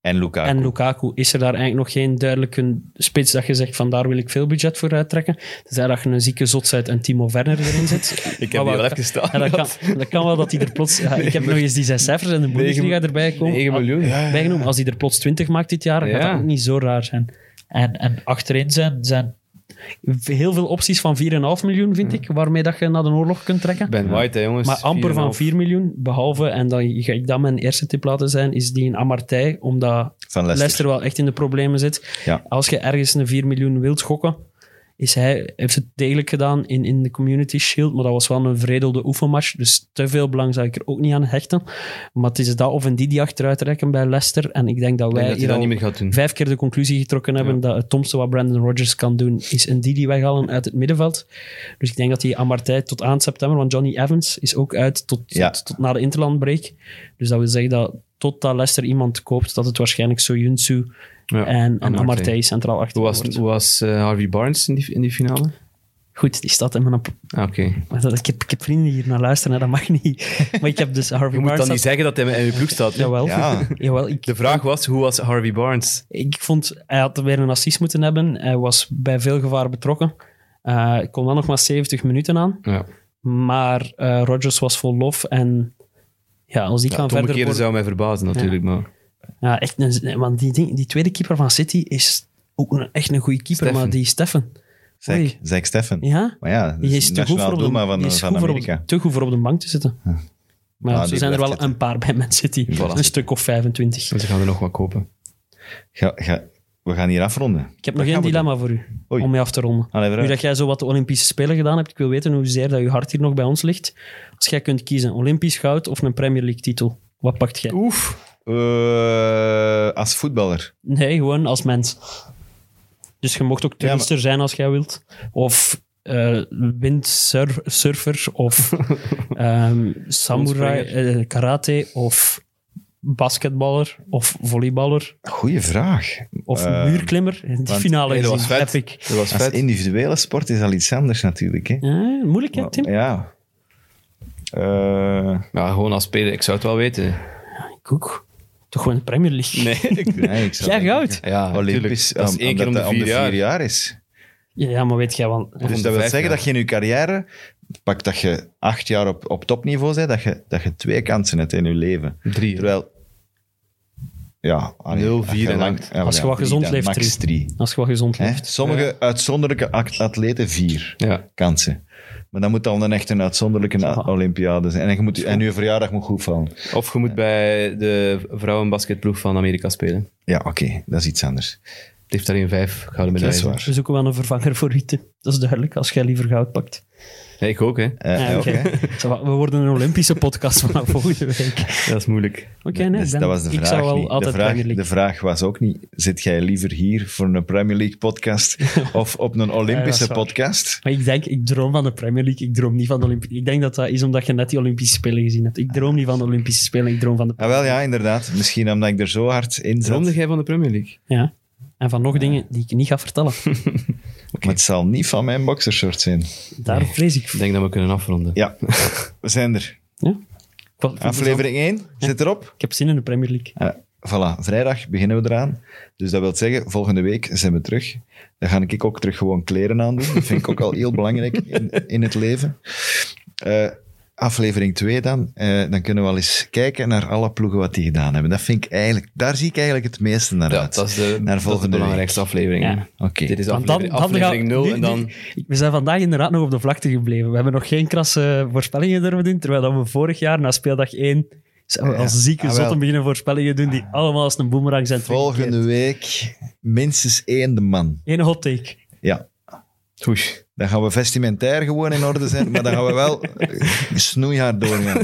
En Lukaku. en Lukaku, is er daar eigenlijk nog geen duidelijke spits dat je zegt van daar wil ik veel budget voor uittrekken. Tenzij dat je een zieke zot bent en Timo Werner erin zit. Ik Maar heb die wel- wel even staan. Ja, dat, kan, dat kan wel dat hij er plots... ja, ik heb nog eens die zes cijfers en de Bundesliga erbij Ah, komen. 9 miljoen. Bijgenomen, als hij er plots 20 maakt dit jaar, gaat Ja. dat ook niet zo raar zijn. En, en achterin zijn, zijn Heel veel opties van 4,5 miljoen, vind ik, waarmee dat je naar de oorlog kunt trekken. Ben White, hè, jongens. Maar amper van 4,5. 4 miljoen, behalve, en dan ga ik dat mijn eerste tip laten zijn, is die in Amartey, omdat Van Leicester. Leicester wel echt in de problemen zit. Ja. Als je ergens een 4 miljoen wilt gokken, is hij, heeft het degelijk gedaan in, in de Community Shield, maar dat was wel een vredelde oefenmatch, dus te veel belang zou ik er ook niet aan hechten. Maar het is dat of een Didi achteruit trekken bij Leicester, en ik denk dat Ik wij denk dat hij hier dat niet al meer gaat doen. vijf keer de conclusie getrokken hebben dat het domste wat Brandon Rodgers kan doen, is een Didi weghalen uit het middenveld. Dus ik denk dat hij Amartey tot aan september, want Johnny Evans is ook uit tot, Ja. tot, tot na de interlandbreak. Dus dat wil zeggen dat totdat Leicester iemand koopt, dat het waarschijnlijk Soyuncu Ja, en, en Amartey. Amartey centraal achter Hoe was, wordt. hoe was eh, Harvey Barnes in die, in die finale? Goed, die staat in mijn... app- Ah, Oké. Maar dat, ik, heb, ik heb vrienden die hier naar luisteren, hè, dat mag niet. Maar ik heb dus Harvey Je moet dan Barnes... niet zeggen dat hij in je ploeg staat. hè. Jawel, Ja. jawel ik, De vraag was, hoe was Harvey Barnes? Ik vond, hij had weer een assist moeten hebben. Hij was bij veel gevaar betrokken. Eh ik kon wel nog maar 70 minuten aan. Ja. Maar eh Rodgers was vol lof. En ja, als die Ja, kan Tom verder... Keerde worden- zou mij verbazen natuurlijk, maar... Ja, echt een, nee, want die, ding- die tweede keeper van City is ook een, echt een goede keeper. Steffen. Maar die Steffen... Zack, Oei. Zack Steffen. Ja? Maar ja, dat Die is, te goed, nationaal voor op de, doelman die van, eh, is van goed voor op- Amerika. te goed voor op de bank te zitten. Maar Ah, ja, zo die zijn er wel blijft zitten. een paar bij Man City. Voilà. Een stuk of 25. Ze gaan er nog wat kopen. Ga, ga, we gaan hier afronden. Ik Wat heb nog één gaan we dilemma voor u, Oei. om mee af te ronden. Allee, vooruit. nu dat jij zo wat de Olympische Spelen gedaan hebt, ik wil weten hoezeer dat je hart hier nog bij ons ligt. Als jij kunt kiezen, Olympisch goud of een Premier League titel, wat pakt jij? Oef. Eh, als voetballer. Nee, gewoon als mens. Dus je mocht ook maar- turnster zijn als jij wilt. Of eh windsurfer, of ehm, samurai, eh, karate, of basketballer, of volleyballer, Goeie vraag. of Ehm, muurklimmer. Die finale nee, dat Eh, was gezien, vet. heb ik. Dat was Als vet. individuele sport is al iets anders natuurlijk. Hè? Eh, moeilijk, hè, Tim? Ja. Eh, Ja, gewoon als speler. Ik zou het wel weten. Ik ik ook. Toch gewoon de Premier League. Nee, ik- Nee, ik zou Jij denken- goud. ja, Olympisch, Ah, tuurlijk. um, Dat is om- één keer om de omdat dat vier jaar. is. Ja, ja, maar weet jij wel. om Dus de dat wil vijf zeggen jaar. dat je in je carrière, pak dat je acht jaar op, op topniveau bent, dat je, dat je twee kansen hebt in je leven. Drie. hè. Terwijl, ja, allee, Nul, als vier je en lang- acht. ja, Als je wat drie gezond dan, leeft, max drie. drie. Als je wat gezond Hè? leeft. Sommige uitzonderlijke act- atleten vier Ja. kansen. Maar dat moet dan een echt een uitzonderlijke a- Olympiade zijn. En je, moet, en je verjaardag moet goed vallen. Of je moet bij de vrouwenbasketploeg van Amerika spelen. Ja, oké, dat is iets anders. Het heeft daarin vijf gouden Dat medailles. is waar. We zoeken wel een vervanger voor Rutte. Dat is duidelijk, als jij liever goud pakt. Ja, ik ook, hè. Eh, Ja, oké. oké. Zo, We worden een Olympische podcast vanaf volgende week. Oké, Dat is moeilijk. nee, Dus dan- dat was de vraag. ik zou wel niet. altijd de, vraag Premier League. de vraag was ook niet: zit jij liever hier voor een Premier League podcast of op een Olympische waar. podcast? Maar ik denk, ik droom van de Premier League, ik droom niet van de Olympische... Ik denk dat dat is omdat je net die Olympische Spelen gezien hebt. Ik droom niet van de Olympische Spelen, ik droom van de... Ah, wel ja, inderdaad. Misschien omdat ik er zo hard in zat. Droomde jij van de Premier League? Ja. En van nog dingen die ik niet ga vertellen. Maar het zal niet van mijn boxershort zijn. Daar vrees ik Ik voor. denk dat we kunnen afronden. Ja, we zijn er. Ik vond- ik vond het wel- Aflevering 1 zit erop. Ik heb zin in de Premier League. Eh, voilà, vrijdag beginnen we eraan. Dus dat wil zeggen, volgende week zijn we terug. Dan ga ik ook terug gewoon kleren aandoen. Dat vind ik ook al heel belangrijk in, in het leven. Eh, aflevering 2 dan. Eh, dan kunnen we al eens kijken naar alle ploegen wat die gedaan hebben. Dat vind ik eigenlijk, daar zie ik eigenlijk het meeste naar Ja, uit. dat is de, Naar dat is de volgende belangrijkste aflevering. hè. Ja. Oké. Dit is Want dan- aflevering, dan gaan- aflevering 0 nu- en dan... nu- We zijn vandaag inderdaad nog op de vlakte gebleven. We hebben nog geen krasse voorspellingen durven doen, terwijl dat we vorig jaar na speeldag 1 zijn we Ja. als zieke Ah, wel. zotten beginnen voorspellingen doen die allemaal als een boemerang zijn Volgende week minstens één de man. Eén hot take. Ja. Hoes. Dan gaan we vestimentair gewoon in orde zijn, maar dan gaan we wel eh, snoeihard doorgaan.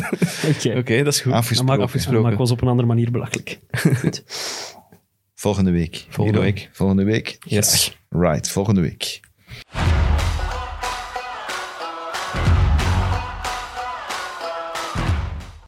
Oké. Oké, dat is goed. Dan maak- Afgesproken. dan maken we ons op een andere manier belachelijk. Goed. Volgende week. Volgende Hierop. week. Volgende week. Yes. Right, volgende week.